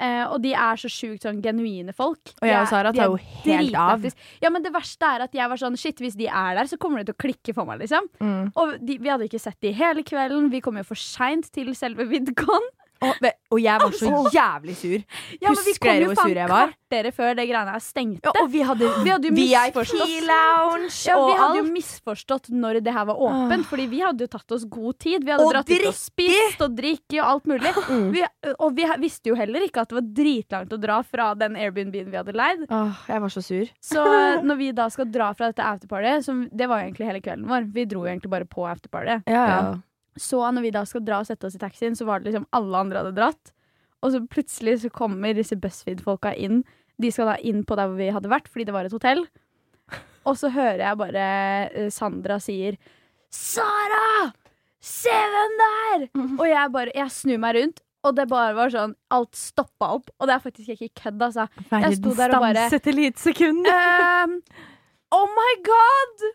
Speaker 3: Eh, og de er så sjukt sånn genuine folk.
Speaker 2: Og jeg og
Speaker 3: De er-
Speaker 2: Sara
Speaker 3: de
Speaker 2: tar
Speaker 3: er
Speaker 2: jo helt av.
Speaker 3: dritlættis. Ja, men det verste er at jeg var sånn Shit, hvis de er der, så kommer det til å klikke for meg, liksom.
Speaker 2: Mm.
Speaker 3: Og de, vi hadde ikke sett de hele kvelden. Vi kom jo for seint til selve VidCon.
Speaker 2: og, ve- og jeg var så jævlig sur.
Speaker 3: Ja, men vi
Speaker 2: Husker
Speaker 3: kom
Speaker 2: dere
Speaker 3: jo
Speaker 2: hvor sur
Speaker 3: faen
Speaker 2: jeg var?
Speaker 3: kvarteret før det greiene her stengte.
Speaker 2: Ja, og vi hadde,
Speaker 3: Vi hadde jo misforstått.
Speaker 2: VIP-lounge
Speaker 3: Ja,
Speaker 2: og
Speaker 3: vi hadde jo
Speaker 2: alt.
Speaker 3: misforstått når det her var åpent, Fordi vi hadde jo tatt oss god tid. Vi hadde
Speaker 2: Og Mm.
Speaker 3: dratt ut og spist og drikke og alt mulig. Vi, og vi visste jo heller ikke at det var dritlangt å dra fra den Airbnb-en vi hadde leid.
Speaker 2: Åh, jeg var så sur. <laughs>
Speaker 3: Så eh, når vi da skal dra fra dette afterpartyet, som det var jo egentlig hele kvelden vår, vi dro jo egentlig bare på afterpartyet,
Speaker 2: Ja, ja.
Speaker 3: så når vi da skal dra og sette oss i taxien, så var det liksom alle andre hadde dratt. Og så plutselig så kommer disse BuzzFeed-folka inn. De skal da inn på der hvor vi hadde vært, fordi det var et hotell. Og så hører jeg bare eh, Sandra sier Sara! Se hvem det er! Og jeg bare, jeg snur meg rundt, og det bare var sånn, alt stoppa opp. Og det er faktisk ikke kødd, altså. Jeg sto der og bare-
Speaker 2: Verdens satellitsekund.
Speaker 3: Ehm, oh my god!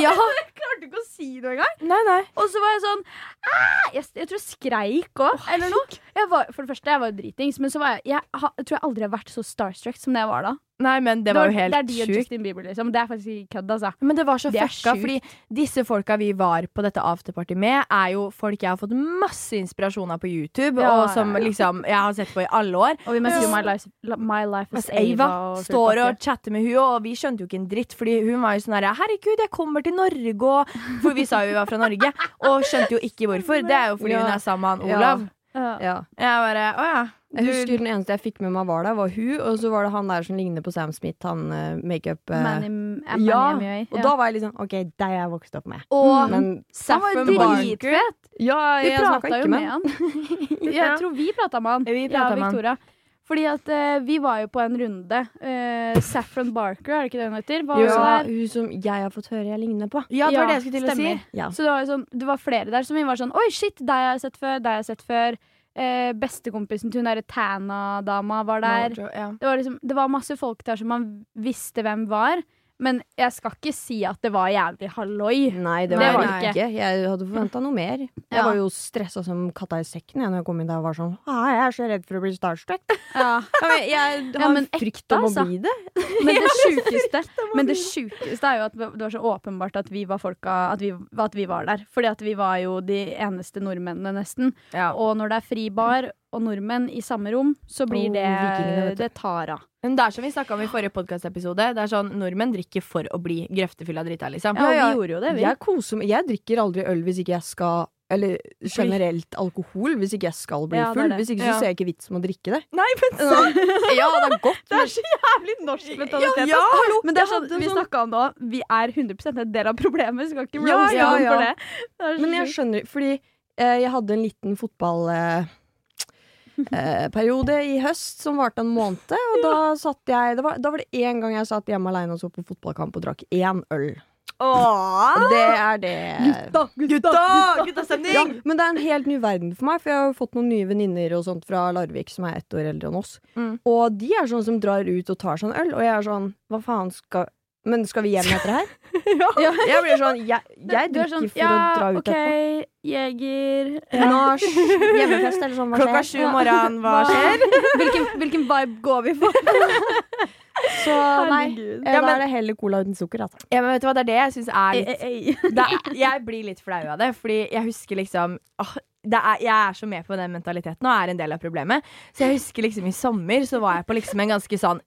Speaker 2: Ja.
Speaker 3: Jeg <laughs> klarte ikke å si noe engang.
Speaker 2: Nei, nei.
Speaker 3: Og så var jeg sånn «Ah!» jeg, jeg tror jeg skreik òg, eller noe. Jeg var, for det første, jeg var jo dritings, men så var jeg jeg, ha, jeg tror jeg aldri har vært så starstruck som det jeg var da.
Speaker 2: Nei, men det var jo
Speaker 3: det er
Speaker 2: helt
Speaker 3: de og
Speaker 2: sjukt.
Speaker 3: Justin Bieber, liksom. Det er faktisk ikke kødd, altså.
Speaker 2: Men det var så
Speaker 3: Det er
Speaker 2: fucka,
Speaker 3: sjukt.
Speaker 2: fordi disse folka vi var på dette afterparty med, er jo folk jeg har fått masse inspirasjon av på YouTube,
Speaker 3: Ja,
Speaker 2: og som
Speaker 3: ja, ja.
Speaker 2: liksom jeg har sett på i alle år.
Speaker 3: Og vi møtte jo My Life, My Life as
Speaker 2: Mens
Speaker 3: Ava.
Speaker 2: Ava
Speaker 3: og
Speaker 2: står
Speaker 3: Full
Speaker 2: og chatter med hun, og vi skjønte jo ikke en dritt, fordi hun var jo sånn herre Herregud, jeg kommer til Norge, og For vi sa jo vi var fra Norge, og skjønte jo ikke hvorfor. Det er jo fordi
Speaker 1: Ja.
Speaker 2: hun er sammen med han
Speaker 1: Ja.
Speaker 2: Olav.
Speaker 3: Pakke. Ja.
Speaker 1: ja.
Speaker 2: Jeg bare Å ja.
Speaker 1: Jeg husker den eneste jeg fikk med meg var der, var hun, og så var det han der som ligner på Sam Smith, han eh, makeup eh,
Speaker 3: Manny, eh, Manny
Speaker 1: ja,
Speaker 3: MJ,
Speaker 1: Og
Speaker 3: ja.
Speaker 1: da var jeg liksom OK, deg er jeg vokst opp med. Mm.
Speaker 2: Og
Speaker 1: Men
Speaker 3: Han var jo
Speaker 2: Saffron Barker.
Speaker 3: dritfet!
Speaker 1: ja,
Speaker 3: Vi
Speaker 1: jeg snakka
Speaker 3: prata jo
Speaker 1: ikke
Speaker 3: med
Speaker 1: med
Speaker 3: han. <laughs> Jeg tror vi prata med han.
Speaker 2: Vi pratet
Speaker 3: Ja,
Speaker 2: med han.
Speaker 3: Victoria. Fordi at eh, vi var jo på en runde. Eh, Saffron Barker, er det ikke det hun heter? Var også
Speaker 1: Ja,
Speaker 3: der.
Speaker 1: hun som jeg har fått høre jeg ligner på.
Speaker 2: Ja, det var
Speaker 3: Ja,
Speaker 2: det jeg skulle til å
Speaker 3: stemmer.
Speaker 2: si.
Speaker 1: Ja.
Speaker 3: Så det var, jo sånn, det var flere der som vi var sånn Oi, shit, deg har jeg sett før, deg har jeg sett før. Eh, bestekompisen til hun derre Tana-dama var der.
Speaker 2: Ja.
Speaker 3: Det var, liksom, det var masse folk der som man visste hvem var. Men jeg skal ikke si at det var jævlig halloi.
Speaker 1: Nei, det var
Speaker 3: Det
Speaker 1: det
Speaker 3: var
Speaker 1: ikke.
Speaker 3: det
Speaker 1: Jeg hadde forventa noe mer. Jeg
Speaker 3: Ja.
Speaker 1: var jo stressa som katta i sekken jeg, når jeg kom inn der og var sånn ah, Jeg er så redd for å bli starstruck.
Speaker 3: Ja.
Speaker 1: Jeg, jeg har
Speaker 3: men ekte,
Speaker 1: frykt om å
Speaker 3: altså.
Speaker 1: bli det.
Speaker 3: <laughs> Men det sjukeste Men det sjukeste er jo at det var så åpenbart at vi var folka At vi, at vi var der. Fordi at vi var jo de eneste nordmennene, nesten.
Speaker 2: Ja.
Speaker 3: Og når det er fri bar og nordmenn i samme rom, så blir
Speaker 1: Oh,
Speaker 3: det
Speaker 1: vikingene, vet du.
Speaker 3: Det tar av.
Speaker 2: Men det er som vi snakka om i forrige podkastepisode. Det er sånn nordmenn drikker for å bli grøftefylla drita, liksom.
Speaker 3: Ja, og
Speaker 1: ja.
Speaker 3: vi gjorde jo det, vi.
Speaker 1: Jeg koser meg. Jeg drikker aldri øl hvis ikke jeg skal Eller generelt alkohol hvis ikke jeg skal bli
Speaker 3: Ja, det er
Speaker 1: full.
Speaker 3: det.
Speaker 1: Hvis ikke så
Speaker 2: Ja.
Speaker 1: ser jeg ikke vits med å drikke det.
Speaker 2: Nei, men
Speaker 1: <laughs> Ja, det er godt.
Speaker 2: Det er så jævlig <laughs> norsk
Speaker 3: mentalitet,
Speaker 2: Ja, ja, hallo!
Speaker 3: Men det er
Speaker 2: Jeg
Speaker 3: sånn,
Speaker 2: hadde
Speaker 3: vi
Speaker 2: sånn-
Speaker 3: snakka om det òg. Vi er 100 en del av problemet. Skal ikke
Speaker 1: Ja,
Speaker 3: roaste
Speaker 1: ja,
Speaker 3: noen
Speaker 1: ja.
Speaker 3: for det. det er så
Speaker 1: Men jeg
Speaker 3: sjukt.
Speaker 1: skjønner Fordi eh, jeg hadde en liten
Speaker 2: <laughs>
Speaker 1: fotballperiode eh, periode i høst som varte en måned. Og da satt jeg det var, Da var det én gang jeg satt hjemme aleine og så på fotballkamp og drakk én øl. Og det er det
Speaker 2: Ah! Gutta! Guttastemning!
Speaker 1: Ja, men det er en helt ny verden for meg, for jeg har jo fått noen nye venninner og sånt fra Larvik som er ett år eldre enn oss.
Speaker 2: Mm.
Speaker 1: Og de er sånne som drar ut og tar seg en øl, og jeg er sånn Hva faen skal Men skal vi hjem etter det her?
Speaker 3: Ja.
Speaker 1: Jeg blir sånn Jeg, jeg
Speaker 3: Du er
Speaker 1: drikker
Speaker 3: sånn,
Speaker 1: for å dra ut
Speaker 3: OK, jeger
Speaker 1: etterpå. Nach, hjemmefest eller sånn, hva
Speaker 2: Klokka
Speaker 1: skjer?
Speaker 2: sju om morgenen, hva skjer?
Speaker 3: Hvilken, hvilken vibe går vi <laughs> for?
Speaker 1: Så nei.
Speaker 3: Herregud.
Speaker 1: eh,
Speaker 2: Ja,
Speaker 1: Da
Speaker 2: men-
Speaker 3: <laughs>
Speaker 1: er det heller cola uten sukker, altså.
Speaker 2: Ja, men vet du hva, det er det jeg syns er
Speaker 3: Ei,
Speaker 2: litt
Speaker 3: ei, ei.
Speaker 2: <laughs> det er, Jeg blir litt flau av det, fordi jeg husker liksom åh, det er, Jeg er så med på den mentaliteten og er en del av problemet. Så jeg husker liksom i sommer så var jeg på liksom en ganske sånn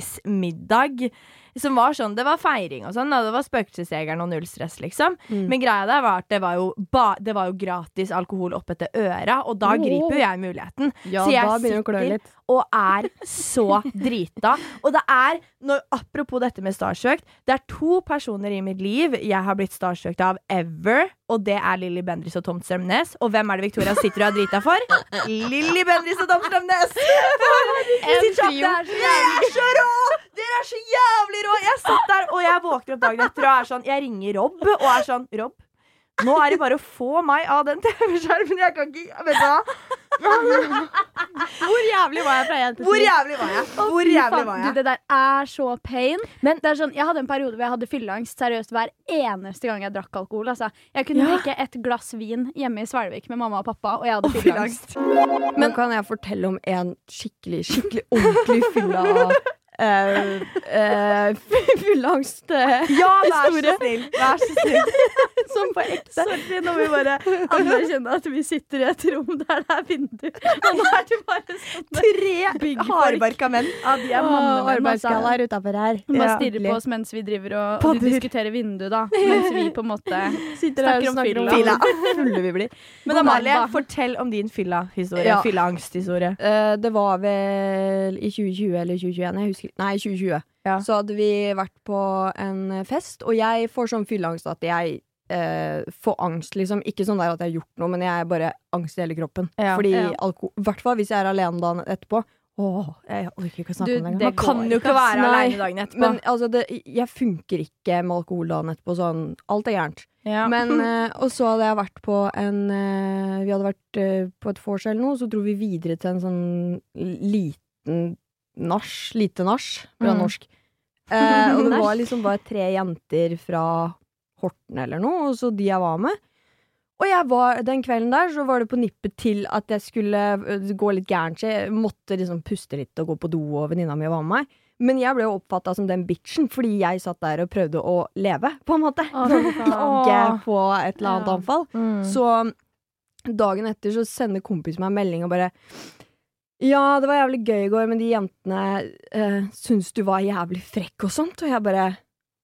Speaker 2: businessmiddag. Som var sånn, Det var feiring og sånn, og det var Spøkelsesjegeren og null stress, liksom.
Speaker 1: Mm.
Speaker 2: Men greia der var at det var jo, ba, det var jo gratis alkohol opp etter øra, og da griper jo jeg muligheten.
Speaker 1: Ja,
Speaker 2: så jeg
Speaker 1: da begynner det å klø
Speaker 2: sitter
Speaker 1: litt.
Speaker 2: og er så drita. Og det er, når, apropos dette med starstruck, det er to personer i mitt liv jeg har blitt starstruck av ever, og det er Lilly Bendriss og Tom Strømnes. Og hvem er det Victoria sitter og er drita for? Lilly Bendriss og Tom Strømnes! Jeg sitter sånn,
Speaker 3: trio.
Speaker 2: Dere er så rå! Dere er så jævlig rå! Jeg satt der, og jeg våkner opp dagen etter og er sånn Jeg ringer Rob og er sånn Rob, nå er det bare å få meg av den TV-skjermen. Jeg kan ikke Vet du hva?
Speaker 3: Hvor jævlig var jeg fra jente
Speaker 2: Hvor jævlig var jeg? Hvor jævlig var jeg?
Speaker 3: Du, det der er så pain.
Speaker 2: Men-
Speaker 3: det er sånn, jeg hadde en periode hvor jeg hadde fylleangst seriøst hver eneste gang jeg drakk alkohol. Altså. Jeg kunne drikke et glass vin hjemme i Svelvik med mamma og pappa, og jeg hadde fylleangst.
Speaker 1: Men kan jeg fortelle om en skikkelig, skikkelig ordentlig fylla eh, eh, <laughs> Fylleangst eh,
Speaker 2: Ja, vær så snill. Vær så snill.
Speaker 1: som på ekte.
Speaker 3: Sorry, nå må vi bare anerkjenne at vi sitter i et rom der det er vinduer. Og nå er det bare sånn
Speaker 2: Tre
Speaker 3: Big
Speaker 2: hardbarka menn.
Speaker 3: Ja, de er
Speaker 1: Åh,
Speaker 3: mannene
Speaker 1: Arbeidsgalla er utafor her.
Speaker 3: Hun bare
Speaker 2: Ja,
Speaker 3: stirrer på
Speaker 1: ordentlig.
Speaker 3: oss mens vi driver og, og de
Speaker 2: Padder.
Speaker 3: diskuterer vinduet, da. Mens vi på en måte
Speaker 2: <laughs>
Speaker 1: Sitter her og
Speaker 3: Snakker om
Speaker 1: snakker om
Speaker 3: fylla.
Speaker 1: hvor fulle vi blir.
Speaker 2: Men Amalie, fortell om din fylla-historie.
Speaker 1: Ja.
Speaker 2: Fylla-angsthistorie.
Speaker 1: Eh, det var vel i 2020 eller 2021, jeg husker Nei, 2020.
Speaker 2: Ja.
Speaker 1: Så hadde vi vært på en fest, og jeg får sånn fylleangst at jeg eh, får angst, liksom. Ikke sånn der at jeg har gjort noe, men jeg er bare angst i hele kroppen.
Speaker 2: Ja.
Speaker 1: Fordi
Speaker 3: Ja.
Speaker 1: alko... I hvert fall hvis jeg er alene dagen etterpå. Åh, jeg orker ikke å snakke
Speaker 3: Du,
Speaker 1: om det engang.
Speaker 3: det
Speaker 2: Man kan
Speaker 3: går
Speaker 2: jo ikke være
Speaker 1: Nei.
Speaker 2: aleine dagen etterpå.
Speaker 1: Men altså, det, jeg funker ikke med alkohol dagen etterpå. Sånn, alt er gærent.
Speaker 2: ja. <laughs>
Speaker 1: Men, eh, og så hadde jeg vært på en eh, Vi hadde vært eh, på et vors eller noe, så dro vi videre til en sånn liten nach. Lite nach fra
Speaker 2: Mm.
Speaker 1: norsk. Eh, og
Speaker 2: <laughs>
Speaker 1: det var liksom bare tre jenter fra Horten eller noe, og så de jeg var med. Og jeg var, den kvelden der så var det på nippet til at jeg skulle eh, gå litt gærent. Så jeg måtte liksom puste litt og gå på do, og venninna mi var med meg. Men jeg ble jo oppfatta som den bitchen fordi jeg satt der og prøvde å leve, på en måte
Speaker 3: Å, fy
Speaker 1: ikke
Speaker 3: faen.
Speaker 2: Åh.
Speaker 1: på et eller annet
Speaker 3: Ja.
Speaker 1: anfall.
Speaker 2: Mm.
Speaker 1: Så dagen etter så sender kompisen meg en melding og bare Ja, det var jævlig gøy i går, men de jentene uh, syns du var jævlig frekk og sånt. Og jeg bare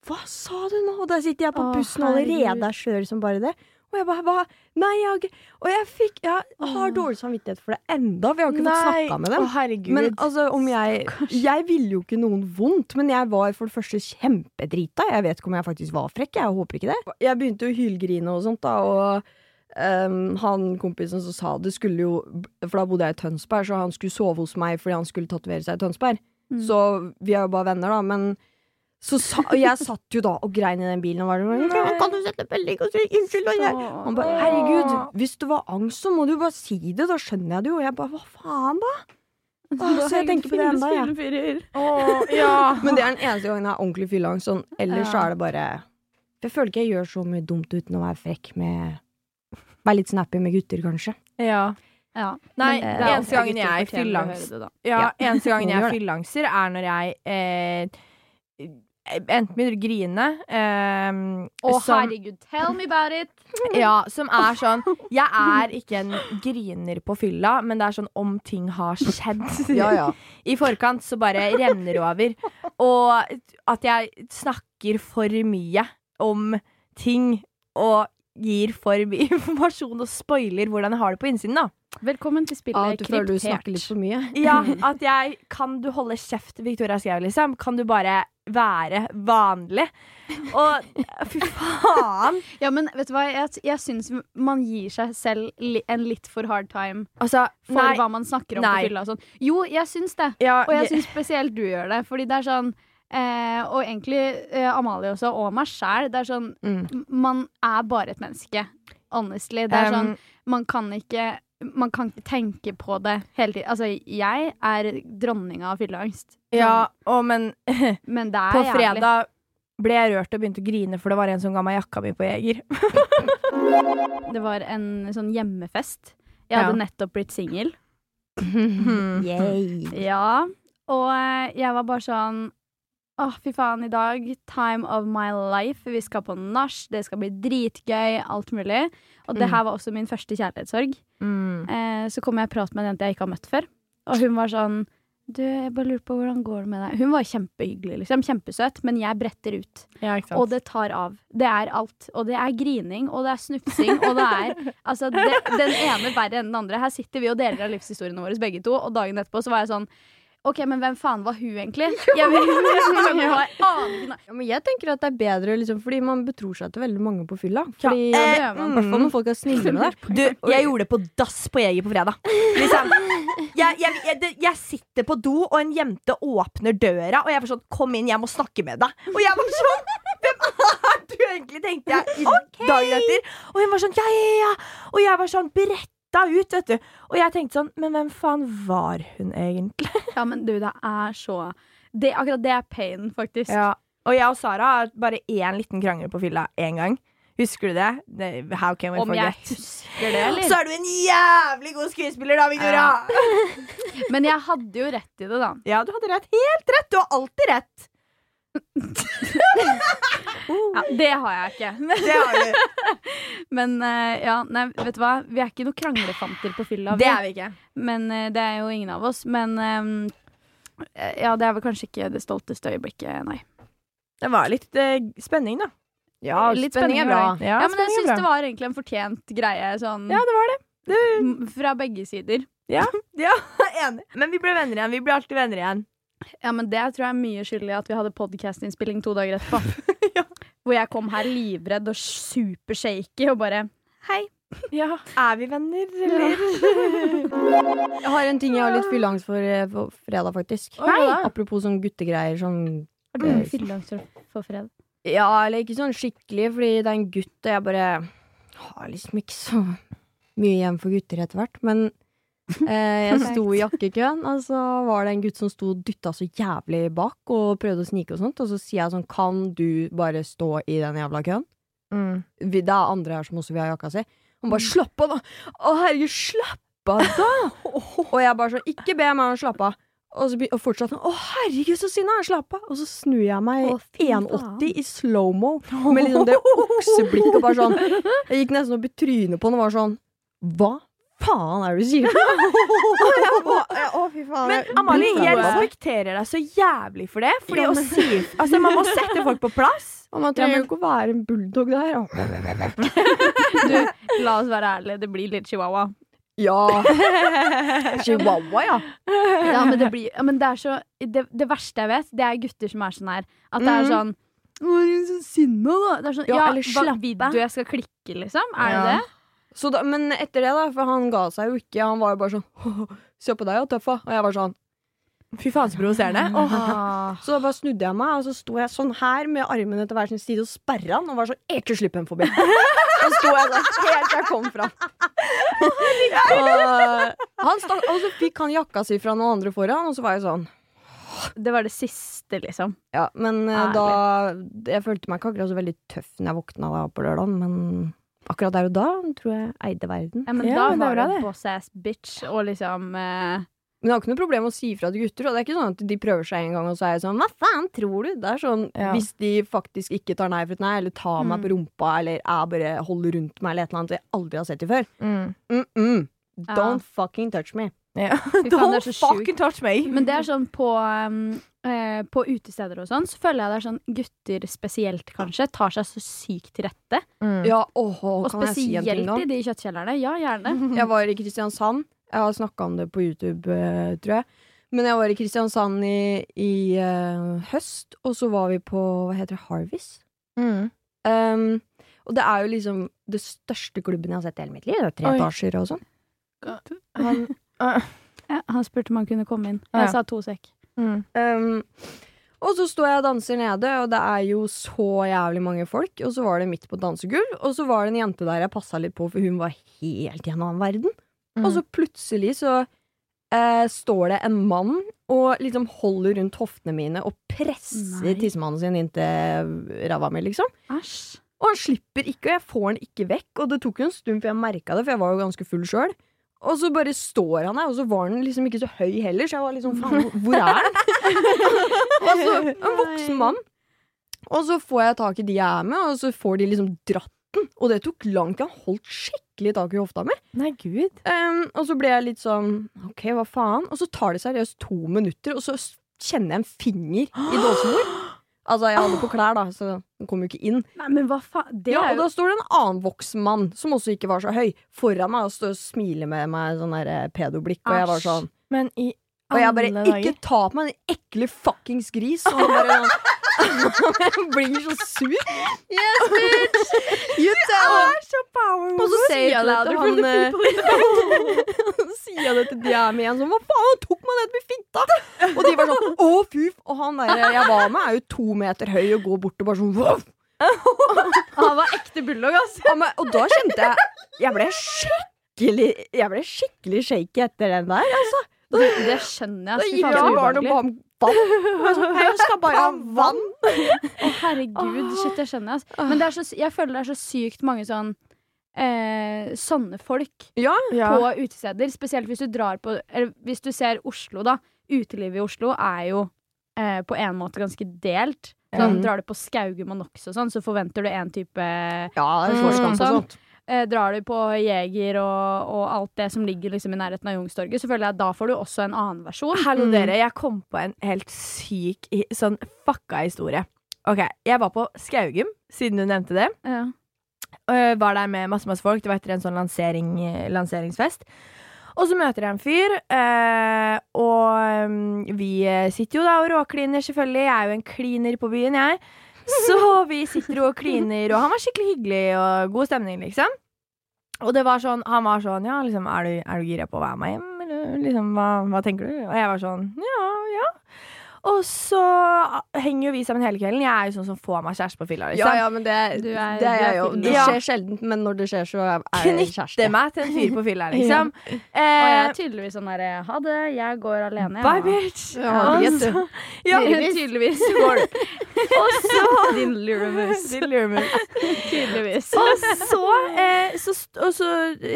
Speaker 1: Hva sa du nå? Og der sitter jeg på
Speaker 3: Å,
Speaker 1: bussen
Speaker 3: herregud.
Speaker 1: allerede er skjør som bare det. Og jeg bare Hva? Nei, jeg har ikke Og jeg fikk Jeg har dårlig samvittighet for det enda, for jeg har ikke fått snakka med dem.
Speaker 2: Å, herregud.
Speaker 1: Men altså, om jeg Jeg ville jo ikke noen vondt, men jeg var for det første kjempedrita. Jeg vet ikke om jeg faktisk var frekk. Jeg håper ikke det. Jeg begynte jo å hylgrine og sånt, da, og ehm, han kompisen som sa det, skulle jo For da bodde jeg i Tønsberg, så han skulle sove hos meg fordi han skulle tatovere seg i Tønsberg. Så vi er jo bare venner, da, men så sa, og jeg satt jo da og grein i den bilen. Og var sånn, kan du sette belling og si unnskyld? Og jeg. Han bare herregud, hvis det var angst, så må du jo bare si det. Da skjønner jeg det jo. Og jeg bare hva faen, da? Åh, så jeg tenker på det ennå, jeg. <laughs> Men det er den eneste gangen jeg har ordentlig fylleangst. Sånn. Ellers så er det bare Jeg føler ikke jeg gjør så mye dumt uten å være frekk med Være litt snappy med gutter, kanskje.
Speaker 2: Ja.
Speaker 3: Ja.
Speaker 2: Nei,
Speaker 3: Men, eh,
Speaker 2: eneste
Speaker 3: ofte
Speaker 2: gangen
Speaker 3: gutter
Speaker 2: jeg
Speaker 3: fortjener å
Speaker 2: fylleangst-
Speaker 3: høre det, da.
Speaker 2: Ja, eneste gangen
Speaker 1: Noen
Speaker 2: jeg
Speaker 1: gjør
Speaker 2: har
Speaker 1: det.
Speaker 2: fylleangster, er når jeg eh, enten begynner å grine eh,
Speaker 3: Å,
Speaker 2: som-
Speaker 3: herregud, tell me about it!
Speaker 2: Ja, som er sånn Jeg er ikke en griner på fylla, men det er sånn om ting har skjedd
Speaker 1: <laughs>
Speaker 2: i forkant, så bare renner det over. Og at jeg snakker for mye om ting og gir for mye <laughs> informasjon og spoiler hvordan jeg har det på innsiden, da.
Speaker 3: Velkommen til spillet
Speaker 1: At du føler du snakker litt
Speaker 3: Kryptert.
Speaker 1: for mye.
Speaker 2: Ja,
Speaker 3: <laughs>
Speaker 2: at jeg Kan du holde kjeft, Victoria Skau, liksom? Kan du bare være vanlig? Og fy faen!
Speaker 3: Ja, men vet du hva, jeg, jeg syns man gir seg selv li en litt for hard time
Speaker 2: Altså,
Speaker 3: for hva man snakker om
Speaker 2: Nei.
Speaker 3: på fylla og sånn. Jo, jeg syns det.
Speaker 2: ja,
Speaker 3: Og jeg
Speaker 2: jeg-
Speaker 3: syns spesielt du gjør det, fordi det er sånn eh, Og egentlig eh, Amalie også, og meg sjæl. Det er sånn
Speaker 2: Mm.
Speaker 3: m- Man er bare et menneske. Honestly. Det er
Speaker 2: Um,
Speaker 3: sånn Man kan ikke man kan ikke tenke på det hele tiden. Altså, jeg er dronninga av fylleangst.
Speaker 2: ja, og men
Speaker 3: Men sånn- det er
Speaker 2: på
Speaker 3: jævlig.
Speaker 2: fredag ble jeg rørt og begynte å grine, for det var en som ga meg jakka mi på
Speaker 3: <laughs>
Speaker 2: Jeger.
Speaker 3: Det var en sånn hjemmefest. Jeg hadde
Speaker 2: Ja.
Speaker 3: nettopp blitt singel.
Speaker 2: Hmm.
Speaker 3: Ja. Og eh, jeg var bare sånn Å, fy faen, i dag. Time of my life. Vi skal på nach. Det skal bli dritgøy. Alt mulig. Og det her var også min første kjærlighetssorg.
Speaker 2: Mm.
Speaker 3: Eh, så kom jeg og pratet med en jente jeg ikke har møtt før. Og hun var sånn Du, jeg bare lurer på hvordan går det med deg. Hun var kjempehyggelig, liksom. Kjempesøt. Men jeg bretter ut.
Speaker 2: Ja, ikke
Speaker 3: Og det tar av. Det er alt. Og det er grining, og det er snufsing, og det
Speaker 2: <laughs>
Speaker 3: er altså, det, den ene verre enn den andre. Her sitter vi og deler av livshistoriene våre begge to, og dagen etterpå så var jeg sånn OK, men hvem faen var hun egentlig? Jeg
Speaker 2: <laughs>
Speaker 3: vet ikke hvem hun var. Aner ikke.
Speaker 1: Ja, men jeg tenker at det er bedre, liksom, fordi man betror seg til veldig mange på fylla.
Speaker 2: Ja,
Speaker 1: Fordi,
Speaker 2: eh,
Speaker 1: ja, det- I hvert fall når folk er snille <laughs> med deg.
Speaker 2: Du, jeg gjorde det på dass på Jeger på fredag. Liksom. Jeg, jeg, jeg, det- jeg sitter på do, og en jente åpner døra, og jeg var sånn Kom inn, jeg må snakke med deg. Og jeg var sånn Hvem er du egentlig, tenkte jeg i dagen etter. Og hun var sånn Ja, ja, ja. Og jeg var sånn beretta ut, vet du. Og jeg tenkte sånn Men hvem faen var hun egentlig?
Speaker 3: Ja, men du, det er så det, Akkurat det er pain, faktisk.
Speaker 2: Og jeg og Sara har bare én liten krangel på fylla én gang. Husker du det? det how can we
Speaker 3: Om jeg
Speaker 2: forget?
Speaker 3: husker det, eller?
Speaker 2: Så er du en jævlig god skuespiller, da, Victoria!
Speaker 3: Men jeg hadde jo rett i det, da.
Speaker 2: Ja, du hadde rett. Helt rett! Du har alltid rett.
Speaker 3: Ja, det har jeg ikke. <laughs>
Speaker 2: Det, har du.
Speaker 3: Men eh, ja, nei, vet du hva? Vi er ikke noen kranglefanter på fylla. vi.
Speaker 2: det er vi ikke.
Speaker 3: Men eh, det er jo ingen av oss. Men ehm, eh, ja, det er vel kanskje ikke det stolteste øyeblikket, nei.
Speaker 2: Det var litt eh, spenning, da.
Speaker 1: Ja,
Speaker 3: Litt spenning er bra.
Speaker 2: Ja,
Speaker 3: Ja, men jeg
Speaker 2: spenning
Speaker 3: syns
Speaker 2: er
Speaker 3: det
Speaker 2: bra.
Speaker 3: var egentlig en fortjent greie, sånn
Speaker 2: Ja, det var det.
Speaker 3: m- fra begge sider.
Speaker 2: Mm. Enig. Men vi ble venner igjen. Vi ble alltid venner igjen.
Speaker 3: Ja, men det tror jeg er mye skyld i at vi hadde podkastinnspilling to dager etterpå. <laughs> Hvor jeg kom her livredd og supershaky og bare Hei.
Speaker 2: Ja. Er vi venner, eller? <laughs>
Speaker 1: Jeg har en ting jeg har litt fylleangst for eh, på fredag, faktisk.
Speaker 2: Oi, hva da?
Speaker 1: Apropos sånn guttegreier. Sånn,
Speaker 3: "Mm,
Speaker 1: eh,
Speaker 3: Fylleangst for fred.
Speaker 1: ja, eller ikke sånn skikkelig, fordi det er en gutt, og jeg bare har liksom ikke så mye igjen for gutter etter hvert. Men eh, jeg sto i jakkekøen, og så var det en gutt som sto og dytta så jævlig bak og prøvde å snike og sånt. Og så sier jeg sånn, kan du bare stå i den jævla køen?
Speaker 3: Mm.
Speaker 1: vi, det er andre her som også vil ha jakka si. Han bare 'slapp av, da'. Å, herregud, slapp av, da! <laughs> og jeg bare sånn, ikke be meg om å slappe av. Og, så, be- og fortsatt sånn, å herregud, så sinna! Slapp av! Og så snur jeg meg
Speaker 3: Å, fy
Speaker 1: 180 i slow-mo med liksom det okseblikket og bare sånn. Jeg gikk nesten opp i trynet på han og var sånn, hva faen er det du sier? Jeg <laughs> bare, Å, fy faen.
Speaker 2: Men Amalie, jeg
Speaker 1: sånn,
Speaker 2: respekterer deg så jævlig for det. Fordi å si Altså, man må sette folk på plass.
Speaker 1: Man trenger jo ikke å være en bulldog der.
Speaker 3: Du, la oss være ærlige, det blir litt chihuahua.
Speaker 1: Ja. Chihuahua, ja.
Speaker 3: Ja, men det <laughs> blir ja, men det, er så, det, det verste jeg vet, det er gutter som er sånn her. At det er
Speaker 1: Mhm.
Speaker 3: sånn Å, du er så sinna, da. Det er sånn, ja,
Speaker 1: Ja, eller
Speaker 3: hva
Speaker 1: slapp
Speaker 3: vil
Speaker 1: av.
Speaker 3: du jeg skal klikke, liksom? Er det
Speaker 1: Ja.
Speaker 3: det?
Speaker 1: Så da, men etter det, da, for han ga seg jo ikke. Han var jo bare sånn Se på deg, ja, tøffa. Og jeg var sånn
Speaker 2: Fy faen, så provoserende.
Speaker 3: Mm.
Speaker 2: Åh.
Speaker 3: Ah,
Speaker 1: Så da bare snudde jeg meg, og så sto jeg sånn her med armene til hver sin side og sperra han og var sånn Ikke slipp dem forbi. <laughs> Så sto jeg der helt til jeg kom fram. Og, han stakk, og så fikk han jakka si fra noen andre foran, og så var jeg sånn
Speaker 3: Det var det siste, liksom.
Speaker 1: Ja, men eh, da Jeg følte meg ikke akkurat så veldig tøff når jeg våkna da på lørdag, men akkurat der og da tror jeg eide verden.
Speaker 3: Ja, men
Speaker 2: Ja,
Speaker 3: da
Speaker 2: men det er
Speaker 3: var
Speaker 2: bra,
Speaker 3: det
Speaker 2: det.
Speaker 3: boss ass bitch og liksom <laughs> eh,
Speaker 1: Men jeg har ikke noe problem med å si fra til gutter, og det er ikke sånn at de prøver seg en gang, og så er jeg sånn Hva faen tror du? Det er sånn
Speaker 2: Ja.
Speaker 1: hvis de faktisk ikke tar nei for et nei, eller tar meg på rumpa, eller jeg bare holder rundt meg, eller et eller annet jeg aldri har sett dem før.
Speaker 2: Mm.
Speaker 1: Mm -mm.
Speaker 3: Ja.
Speaker 1: Don't fucking touch me.
Speaker 2: Ja.
Speaker 3: Fy faen, det er
Speaker 2: Don't
Speaker 3: så sjukt.
Speaker 2: fucking touch me!
Speaker 3: Men det er sånn på, um, eh, på utesteder og sånn, så føler jeg det er sånn gutter spesielt, kanskje, tar seg så sykt til rette.
Speaker 2: Mm.
Speaker 1: Ja, åh,
Speaker 3: Og
Speaker 1: kan jeg si en
Speaker 3: spesielt
Speaker 1: ting nå?
Speaker 3: i de kjøttkjellerne. Ja, gjerne.
Speaker 1: Jeg var i Kristiansand. Jeg har snakka om det på YouTube, eh, tror jeg. Men jeg var i Kristiansand i, i eh, høst, og så var vi på hva heter det, Harvest.
Speaker 2: Mm.
Speaker 1: Um, og det er jo liksom det største klubben jeg har sett i hele mitt liv. Det er tre
Speaker 2: Oi.
Speaker 1: etasjer og sånn. <laughs>
Speaker 2: Han,
Speaker 3: Ja, han spurte om han kunne komme inn.
Speaker 2: Ja.
Speaker 1: Ah,
Speaker 3: Jeg sa to sekk.
Speaker 2: mm.
Speaker 1: Um, og så står jeg og danser nede, og det er jo så jævlig mange folk. Og så var det midt på dansegulv, og så var det en jente der jeg passa litt på, for hun var helt i en annen verden.
Speaker 2: Mm.
Speaker 1: Og så plutselig så eh, står det en mann og liksom holder rundt hoftene mine og presser
Speaker 3: Nei.
Speaker 1: tissemannen sin inntil ræva mi, liksom.
Speaker 3: Æsj.
Speaker 1: Og han slipper ikke, og jeg får han ikke vekk. Og det tok jo en stund, for jeg merka det, for jeg var jo ganske full sjøl. Og så bare står han der, og så var han liksom ikke så høy heller, så jeg var liksom faen, hvor- hvor er han? og så en voksen mann. Og så får jeg tak i de jeg er med, og så får de liksom dratt den. Og det tok lang tid. Han holdt skikkelig tak i hofta mi.
Speaker 2: Nei, gud.
Speaker 1: Ehm, og så ble jeg litt sånn OK, hva faen? Og så tar det seriøst to minutter, og så s- kjenner jeg en finger i dåsemor. Altså, jeg hadde på klær, da, så den kom jo ikke inn
Speaker 3: Nei, men hva faen? Det
Speaker 1: ja,
Speaker 3: er
Speaker 1: og
Speaker 3: jo
Speaker 1: da står det en annen voksen mann, som også ikke var så høy, foran meg og står og smiler med meg sånn der eh, pedoblikk, og jeg var
Speaker 3: Æsj.
Speaker 1: sånn
Speaker 2: Men i
Speaker 1: Og
Speaker 2: alle
Speaker 1: jeg bare
Speaker 2: dager
Speaker 1: Ikke ta på meg, din ekle fuckings gris! Og han <laughs> bare Jeg blir så sur. Yes, bitch! You tell
Speaker 2: så power
Speaker 1: Og så sier jeg det til han eh, Så sier jeg det til de jeg er med igjen, sånn Hva faen, han tok meg ned med finta! Og de var sånn Å, fy f-» Og han der jeg var med, er jo to meter høy og går bort og bare sånn «Voff!»
Speaker 3: Han var ekte bulldog, ass.
Speaker 1: Ja, men, og da kjente jeg Jeg ble skikkelig Jeg ble skikkelig shaky etter den der. Altså.
Speaker 3: <laughs> Det, det skjønner
Speaker 1: Da
Speaker 3: jeg. ass. Fy
Speaker 1: gikk
Speaker 3: faen,
Speaker 1: jeg
Speaker 3: så
Speaker 1: til barn og
Speaker 3: ubehagelig.
Speaker 1: ba om vann. Jeg skal bare ha vann.
Speaker 3: Å, herregud. Shit, det skjønner jeg.
Speaker 1: Ah.
Speaker 3: ass. Men det er så, jeg føler det er så sykt mange sånn eh, sånne folk
Speaker 2: ja.
Speaker 3: på utesteder. Spesielt hvis du drar på Eller hvis du ser Oslo, da. Utelivet i Oslo er jo eh, på en måte ganske delt. Sånn,
Speaker 1: Ja.
Speaker 3: Drar du på Skaugum og Nox og sånn, så forventer du én type
Speaker 1: Ja, det
Speaker 2: Mm.
Speaker 1: er slåsskamp og
Speaker 3: sånn.
Speaker 1: sånt.
Speaker 3: Eh, drar du på Jeger og, og alt det som ligger liksom i nærheten av Youngstorget, så føler jeg at da får du også en annen versjon.
Speaker 2: Hallo, dere. Jeg kom på en helt syk, i- sånn fucka historie. Ok, Jeg var på Skaugum, siden du nevnte det.
Speaker 3: Mm. Ja.
Speaker 2: Øh, var der med masse, masse folk. Det var etter en sånn lansering, lanseringsfest. Og så møter jeg en fyr, øh, og øhm, vi øh, sitter jo da og råkliner, selvfølgelig. Jeg er jo en kliner på byen, jeg. Så <laughs> vi sitter og kliner, og han var skikkelig hyggelig og god stemning, liksom. Og det var sånn, han var sånn Ja, liksom, er du, er du gira på å være med hjem, eller liksom, hva, hva tenker du? Og jeg var sånn Ja, ja. Og så henger jo vi sammen hele kvelden. Jeg er jo sånn som får meg kjæreste på fylla, liksom.
Speaker 1: Ja, ja, men det, er-
Speaker 3: Du er-
Speaker 1: det er
Speaker 3: du er
Speaker 1: jeg jo.
Speaker 3: fin,
Speaker 1: Det
Speaker 2: ja.
Speaker 1: skjer sjelden, men når det skjer, så er jeg
Speaker 2: knytte
Speaker 1: kjæreste.
Speaker 2: meg til en fyr på
Speaker 1: <laughs>
Speaker 2: fylla, liksom.
Speaker 3: Og jeg er
Speaker 2: Eh,
Speaker 3: tydeligvis sånn derre ha det, jeg går alene. jeg,
Speaker 2: bye,
Speaker 3: nå».
Speaker 2: bitch!
Speaker 1: Ja, det vet du.
Speaker 2: <laughs> ja,
Speaker 3: <laughs> tydeligvis. <laughs>
Speaker 2: og så
Speaker 3: Din lurvus.
Speaker 2: Din lurmus.
Speaker 3: Tydeligvis.
Speaker 2: Og så, eh, så, st- og så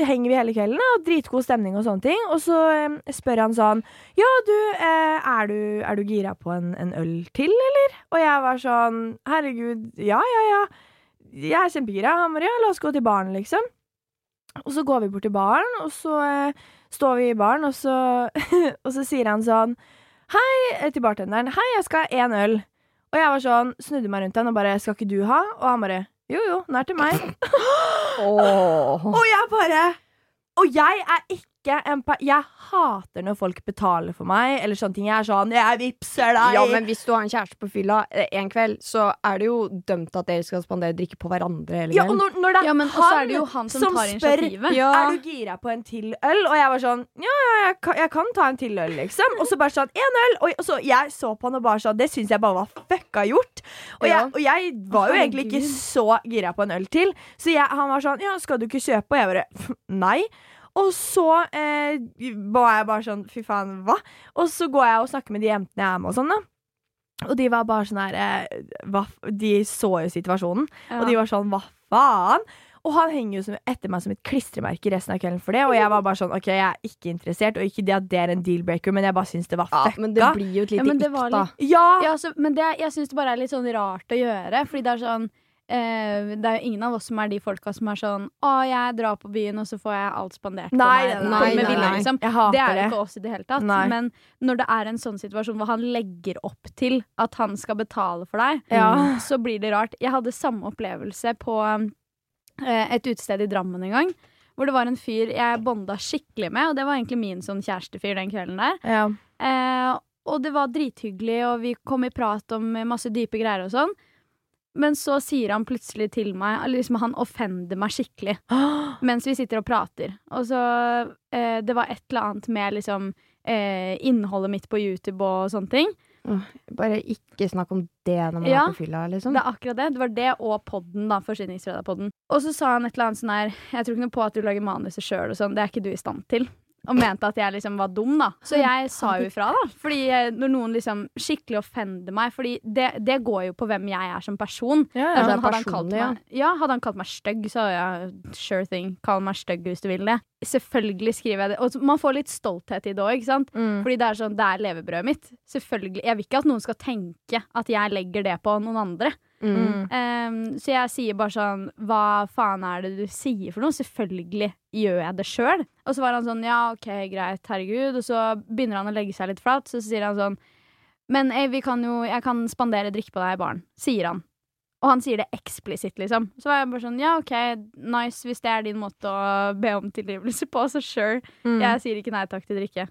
Speaker 2: henger vi hele kvelden, da, og dritgod stemning og sånne ting. Og så eh, spør han sånn Ja, du, eh, er du, er du gira på en, en øl til, eller? Og jeg var sånn Herregud, ja, ja, ja. Jeg er kjempegira. Han bare ja, la oss gå til baren, liksom. Og så går vi bort til baren, og så eh, står vi i baren, og så, <laughs> og så sier han sånn Hei, eh, til bartenderen. Hei, jeg skal ha én øl. Og jeg var sånn, snudde meg rundt til han og bare Skal ikke du ha? Og han bare Jo, jo, den er til meg.
Speaker 1: Åh.
Speaker 2: Og jeg bare Og jeg er ikke ikke en pa Jeg hater når folk betaler for meg, eller sånne ting. Jeg er sånn Jeg vippser deg!
Speaker 1: Ja, men hvis du har en kjæreste på fylla eh, en kveld, så er det jo dømt at dere skal spandere drikke på hverandre hele
Speaker 2: Ja, og
Speaker 1: kvelden.
Speaker 2: når, når det er
Speaker 3: Ja, men også
Speaker 2: han,
Speaker 3: er det jo han som tar
Speaker 2: spør
Speaker 3: initiativet.
Speaker 2: ja.
Speaker 1: Ja.
Speaker 2: Er du gira på en til øl, og jeg var sånn Ja, ja, jeg kan, jeg kan ta en til øl, liksom. Og så bare sånn Én øl! Og, og så jeg så på han og bare sånn Det syns jeg bare var fucka gjort. Og jeg, og jeg var jo egentlig ikke så gira på en øl til, så jeg, han var sånn Ja, skal du ikke kjøpe? Og jeg bare Nei. Og så eh, var jeg bare sånn Fy faen, hva? Og så går jeg og snakker med de jentene jeg er med og sånn, da. Og de var bare sånn her eh, hva, f- De så jo situasjonen.
Speaker 3: <laughs> Ja.
Speaker 2: Og de var sånn, hva faen? Og han henger jo som, etter meg som et klistremerke resten av kvelden for det. Og jeg var bare sånn, ok, jeg er ikke interessert, og ikke det at det er en dealbreaker, men jeg bare syns det var
Speaker 1: Ja,
Speaker 2: fucka.
Speaker 1: men det blir jo et
Speaker 3: Ja,
Speaker 1: lite
Speaker 3: men det
Speaker 1: ikk,
Speaker 3: var
Speaker 1: da.
Speaker 3: litt-
Speaker 2: Ja!
Speaker 3: Ja, altså, men det, jeg syns det bare er litt sånn rart å gjøre. Fordi det er sånn eh, Det er jo ingen av oss som er de folka som er sånn Å, jeg drar på byen, og så får jeg alt spandert på
Speaker 2: Nei,
Speaker 3: meg.
Speaker 2: nei,
Speaker 3: med
Speaker 1: nei,
Speaker 3: vilje,
Speaker 1: nei.
Speaker 3: liksom.
Speaker 2: Jeg
Speaker 3: Det
Speaker 2: hater
Speaker 3: er
Speaker 2: det.
Speaker 3: jo ikke oss i det hele tatt.
Speaker 2: Nei.
Speaker 3: Men når det er en sånn situasjon hvor han legger opp til at han skal betale for deg,
Speaker 2: Ja.
Speaker 3: så blir det rart. Jeg hadde samme opplevelse på eh, et utested i Drammen en gang. Hvor det var en fyr jeg bonda skikkelig med, og det var egentlig min sånn kjærestefyr den kvelden der.
Speaker 2: Ja.
Speaker 3: Eh, og det var drithyggelig, og vi kom i prat om masse dype greier og sånn. Men så sier han plutselig til meg eller liksom Han offender meg skikkelig mens vi sitter og prater. Og så eh, Det var et eller annet med liksom eh, innholdet mitt på YouTube og sånne ting.
Speaker 1: Bare ikke snakk om det når man
Speaker 3: Ja.
Speaker 1: er på fylla, liksom.
Speaker 3: Det er akkurat det. Det var det og podden, da. Forsyningsfredag-podden. Og så sa han et eller annet sånn her Jeg tror ikke noe på at du lager manuset sjøl og sånn. Det er ikke du i stand til. Og mente at jeg liksom var dum, da. Så jeg sa jo ifra, da. Fordi eh, når noen liksom skikkelig offender meg Fordi det, det går jo på hvem jeg er som person.
Speaker 2: <gasps> Ja,
Speaker 3: Det er
Speaker 1: det er
Speaker 3: sånn, hadde, han kalt
Speaker 1: personlig, ja.
Speaker 3: meg, ja, hadde han kalt meg stygg, så hadde jeg sure thing. Kall meg stygg hvis du vil det. Selvfølgelig skriver jeg det. Og så- man får litt stolthet i det òg, ikke sant.
Speaker 2: Mm.
Speaker 3: Fordi det er sånn, det er levebrødet mitt. Selvfølgelig, Jeg vil ikke at noen skal tenke at jeg legger det på noen andre.
Speaker 2: Mm.
Speaker 3: Ehm, så jeg sier bare sånn Hva faen er det du sier for noe? Selvfølgelig gjør jeg det sjøl. Og så var han sånn ja, ok, greit, herregud. Og så begynner han å legge seg litt flat. Så sier han sånn Men eh, vi kan jo, jeg kan spandere drikke på deg i baren, sier han. Og han sier det eksplisitt, liksom. Så var jeg bare sånn ja, ok, nice, hvis det er din måte å be om tilgivelse på, så sure.
Speaker 2: Mm.
Speaker 3: Jeg sier ikke nei takk til drikke.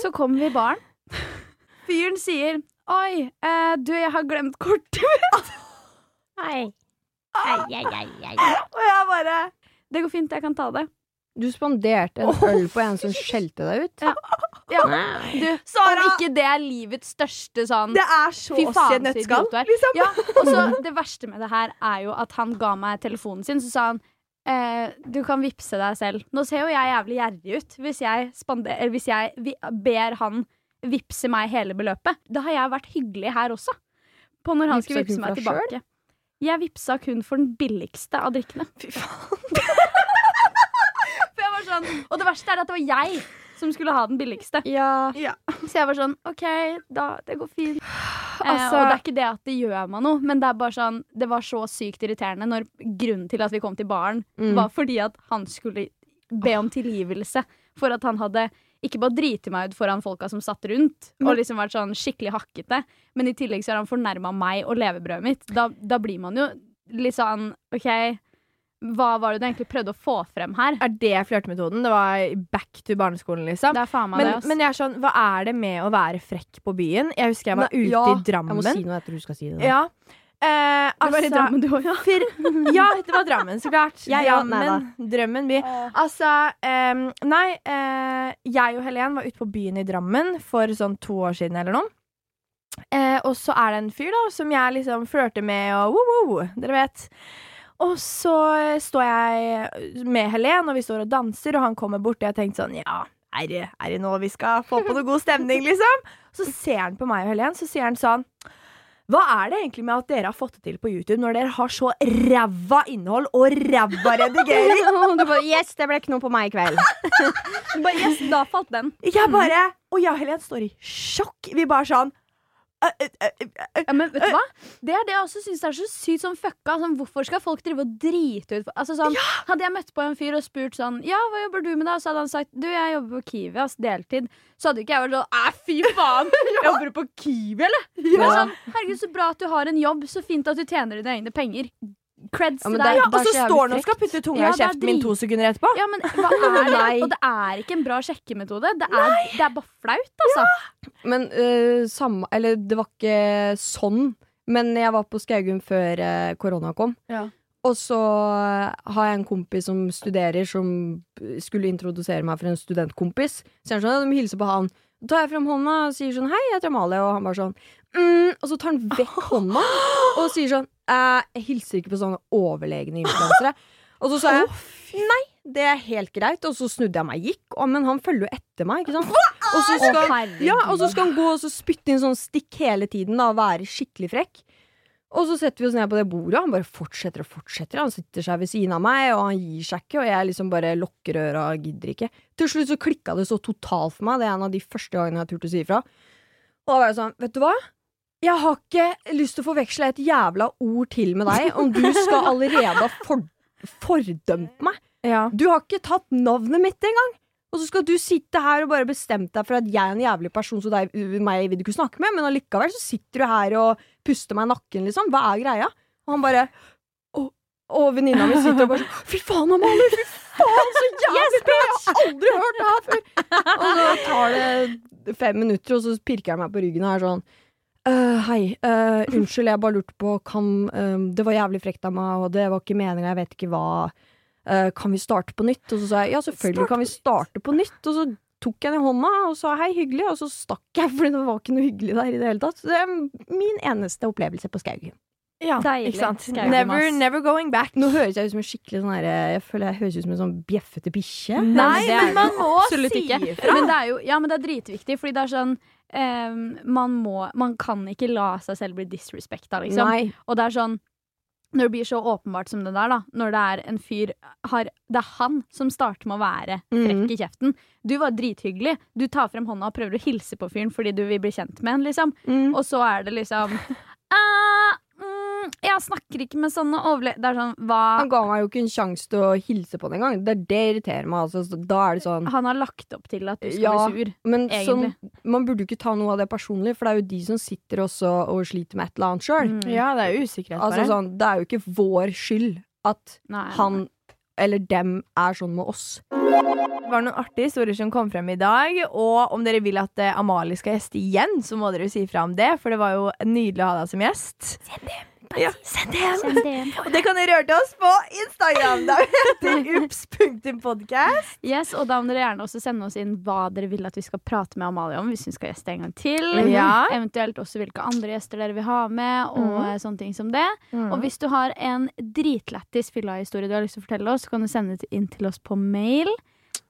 Speaker 3: Så kommer vi i baren. Fyren sier Oi, eh, du, jeg har glemt kortet mitt.
Speaker 2: Og jeg bare
Speaker 3: Det går fint, jeg kan ta det.
Speaker 1: Du spanderte en øl på en
Speaker 3: <laughs>
Speaker 1: som skjelte deg ut.
Speaker 3: Ja. Du,
Speaker 2: Sara!
Speaker 3: om ikke det er livets største sånn
Speaker 2: Det er så
Speaker 3: Fy
Speaker 2: oss i et
Speaker 3: faen, så
Speaker 2: nøttskall.
Speaker 3: idiot du er.
Speaker 2: Liksom.
Speaker 3: Ja, og så
Speaker 1: <laughs>
Speaker 3: det verste med det her er jo at han ga meg telefonen sin, så sa han eh, du kan vippse deg selv. Nå ser jo jeg jævlig gjerrig ut hvis jeg, spander, eller hvis jeg vi, ber han vippse meg hele beløpet. Da har jeg vært hyggelig her også. På når han
Speaker 1: Vippsa
Speaker 3: skulle vippse
Speaker 1: kun
Speaker 3: meg
Speaker 1: for deg
Speaker 3: tilbake. Jeg vippsa kun for den billigste av drikkene. Fy faen. <laughs> for jeg var sånn, og det verste er at det var jeg som skulle ha den billigste.
Speaker 2: Ja.
Speaker 3: Så jeg var sånn OK, da, det går fint.
Speaker 2: <sighs> Altså-
Speaker 3: eh, og det er ikke det at det gjør meg noe, men det er bare sånn Det var så sykt irriterende når grunnen til at vi kom til baren,
Speaker 2: Mm.
Speaker 3: var fordi at han skulle be om tilgivelse for at han hadde ikke bare driti meg ut foran folka som satt rundt, og liksom vært sånn skikkelig hakkete, men i tillegg så har han fornærma meg og levebrødet mitt. Da, da blir man jo litt sånn OK, hva var det du egentlig prøvde å få frem her?
Speaker 2: Er det flørtemetoden? Det var back to barneskolen, liksom.
Speaker 3: Det er faen meg
Speaker 2: Men,
Speaker 3: det, ass.
Speaker 2: men jeg er sånn, hva er det med å være frekk på byen? Jeg husker jeg var
Speaker 1: Nei,
Speaker 2: ute
Speaker 1: ja,
Speaker 2: i
Speaker 1: Jeg
Speaker 2: Drammen.
Speaker 1: må si noe etter du skal si <laughs> det.
Speaker 2: Ja. Eh,
Speaker 3: det var i
Speaker 2: altså-
Speaker 3: Drammen, du òg, ja.
Speaker 2: Fir <laughs> ja, det var Drammen, så klart.
Speaker 1: Jeg òg, nei da.
Speaker 2: Drammen, drømmen by. Altså, em, nei. eh, jeg og Helen var ute på byen i Drammen for sånn to år siden eller noe. Eh, og så er det en fyr da som jeg liksom flørter med og wo-wo, dere vet. Og så eh, står jeg med Helen, og vi står og danser, og han kommer bort, og jeg har tenkt sånn Ja, er det, er det nå vi skal få på noe god stemning, liksom? <laughs> Så ser han på meg og Helen, så sier han sånn hva er det egentlig med at dere har fått det til på YouTube, når dere har så ræva innhold og ræva redigering?
Speaker 1: Og du bare, yes, det ble ikke noe på meg i
Speaker 3: <laughs>
Speaker 1: kveld.
Speaker 3: <laughs> Bare, yes, da falt den.
Speaker 2: Jeg bare Og jeg og Helen står i sjokk. Vi bare sånn «Ø, ø, ø, ø, ø».
Speaker 3: Ja, men vet du hva? Det er det jeg også syns er så sykt sånn fucka. Sånn, hvorfor skal folk drive og drite ut altså, sånn, Hadde jeg møtt på en fyr og spurt sånn Ja, hva jobber du med, da? Så hadde han sagt Du, jeg jobber på Kiwi, ass, deltid. Så hadde ikke jeg vært sånn Æ, fy
Speaker 2: <laughs>
Speaker 3: faen! Jobber du på Kiwi, eller? Men Sånn, Herregud, så bra at du har en jobb. Så fint at du tjener dine egne penger. creds
Speaker 1: Ja,
Speaker 3: til
Speaker 1: men
Speaker 3: deg.
Speaker 1: det er-
Speaker 2: Ja, og så
Speaker 1: så jævlig
Speaker 2: står han og skal putte tunga i
Speaker 3: Ja, det er
Speaker 2: kjeften min
Speaker 3: drit.
Speaker 2: to sekunder etterpå.
Speaker 3: Ja, men
Speaker 2: <laughs>
Speaker 3: hva er det?
Speaker 1: Nei.
Speaker 3: Og det er ikke en bra sjekkemetode. Det er, det er bare flaut, altså.
Speaker 1: Men eh, samme Eller det var ikke sånn. Men jeg var på Skaugum før eh, korona kom.
Speaker 3: Ja.
Speaker 1: Og så eh, har jeg en kompis som studerer, som skulle introdusere meg for en studentkompis. Så jeg er sånn, ja, de hilser på han. Da tar jeg fram hånda og sier sånn Hei, jeg heter Amalie. Og han bare sånn mm, Og så tar han vekk hånda og sier sånn «Eh, Jeg hilser ikke på sånne overlegne influensere. Og så sa jeg nei, det er helt greit. Og så snudde jeg meg og gikk. Å, men han følger jo etter meg, ikke sant. Og så skal,
Speaker 3: herregud.
Speaker 1: ja, og så skal han gå og så spytte inn sånn stikk hele tiden da, og være skikkelig frekk. Og så setter vi oss ned på det bordet, og han bare fortsetter og fortsetter. Han sitter seg ved siden av meg, og han gir seg ikke, og jeg liksom bare lukker øra og gidder ikke. Til slutt så klikka det så totalt for meg, det er en av de første gangene jeg har turt å si ifra. Og da var jeg sånn, vet du hva? Jeg har ikke lyst til å forveksle et jævla ord til med deg om du skal allerede ha for fordømt meg.
Speaker 2: Ja.
Speaker 1: Du har ikke tatt navnet mitt engang! Og så skal du sitte her og bare bestemme deg for at jeg er en jævlig person, så deg, meg vil du ikke snakke med, men allikevel så sitter du her og puster meg i nakken, liksom. Hva er greia? Og han bare Og, og venninna mi sitter og bare sånn Fy faen, Amalie! Fy faen, så jævlig bra! Jeg har aldri hørt det her før! Og så tar det fem minutter, og så pirker han meg på ryggen og er sånn «Øh, hei, øh, unnskyld, jeg bare lurte på kan, øh, Det var jævlig frekt av meg, og det var ikke meninga, jeg vet ikke hva Eh, Kan vi starte på nytt? Og så sa jeg ja, selvfølgelig kan vi starte på nytt. Og så tok jeg den i hånda og sa hei, hyggelig, og så stakk jeg, fordi det var ikke noe hyggelig der i det hele tatt. Så det er min eneste opplevelse på Skaugum.
Speaker 2: Ja,
Speaker 3: Deilig.
Speaker 2: ikke sant?
Speaker 3: Skaugum,
Speaker 2: Never,
Speaker 3: ass.
Speaker 2: never going back.
Speaker 1: Nå høres jeg ut som en skikkelig sånn herre Jeg føler jeg høres ut som en sånn bjeffete bikkje.
Speaker 2: Nei,
Speaker 3: det er
Speaker 2: men man må
Speaker 3: absolutt
Speaker 2: si
Speaker 3: ikke.
Speaker 2: ifra.
Speaker 3: Men det er jo ja, men det er dritviktig, fordi det er sånn ehm, man, må, man kan ikke la seg selv bli disrespekta, liksom.
Speaker 1: Nei.
Speaker 3: Og det er sånn Når det blir så åpenbart som det der, da, når det er en fyr har, Det er han som starter med å være
Speaker 1: Mhm.
Speaker 3: frekk i kjeften. Du var drithyggelig. Du tar frem hånda og prøver å hilse på fyren fordi du vil bli kjent med han, liksom.
Speaker 1: Mm.
Speaker 3: Og så er det liksom
Speaker 1: <laughs>
Speaker 3: «Ah, mm, Jeg snakker ikke med sånne overle... Det er sånn Hva
Speaker 1: Han ga meg jo ikke en sjanse til å hilse på den engang. Det er det irriterer meg. Altså. Så Da er det
Speaker 2: Ah,
Speaker 1: sånn
Speaker 3: Han har lagt opp til at du skal
Speaker 1: Ja.
Speaker 3: bli sur.
Speaker 1: Men sånn,
Speaker 3: Egentlig.
Speaker 1: man burde jo ikke ta noe av det personlig, for det er jo de som sitter også og sliter med et eller annet sjøl.
Speaker 2: Ja, Mm, det er jo usikkerhet
Speaker 1: Altså,
Speaker 2: bare.
Speaker 1: sånn, det er jo ikke vår skyld at
Speaker 3: Nei,
Speaker 1: han eller dem er sånn med oss.
Speaker 2: Det var noen artige historier som kom frem i dag. Og om dere vil at eh, Amalie skal gjeste igjen, så må dere jo si fra om det. For det var jo nydelig å ha deg som gjest. Send det ja, send det hjem.
Speaker 3: Send det hjem.
Speaker 2: Og det kan dere gjøre til oss på Instagram. <laughs> Da heter ups.podcast.
Speaker 3: Yes, og da må dere gjerne også sende oss inn hva dere vil at vi skal prate med Amalie om. Hvis hun skal gjeste en gang til.
Speaker 2: Mhm. Ja.
Speaker 3: Eventuelt også hvilke andre gjester dere vil ha med. Og
Speaker 2: Mhm.
Speaker 3: eh, sånne ting som det
Speaker 2: Mm.
Speaker 3: Og hvis du har en dritlættis fylla-historie du har lyst til å fortelle oss, så kan du sende det inn til oss på mail,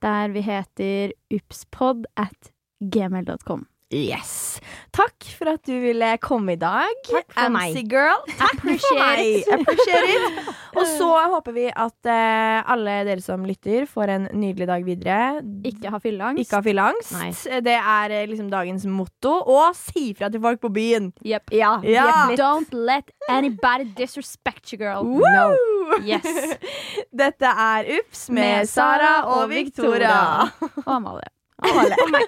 Speaker 3: der vi heter upspod at gmail.com.
Speaker 2: Yes. Takk for at du ville komme i dag. Takk
Speaker 1: for meg.
Speaker 2: girl. Takk for meg. Appreciate <laughs> it. Og så håper vi at eh, alle dere som lytter, får en nydelig dag videre.
Speaker 3: Ikke ha fylleangst.
Speaker 2: Ikke ha fylleangst. Det er eh, liksom dagens motto. Og si fra til folk på byen!
Speaker 3: Yep.
Speaker 1: Ja.
Speaker 2: Ja!
Speaker 3: Don't let anybody disrespect you, girl.
Speaker 2: Woo!
Speaker 3: Yes.
Speaker 2: <laughs> Dette er Ups med Sara og <laughs> Victoria.
Speaker 3: Og Amalie.
Speaker 2: Alle.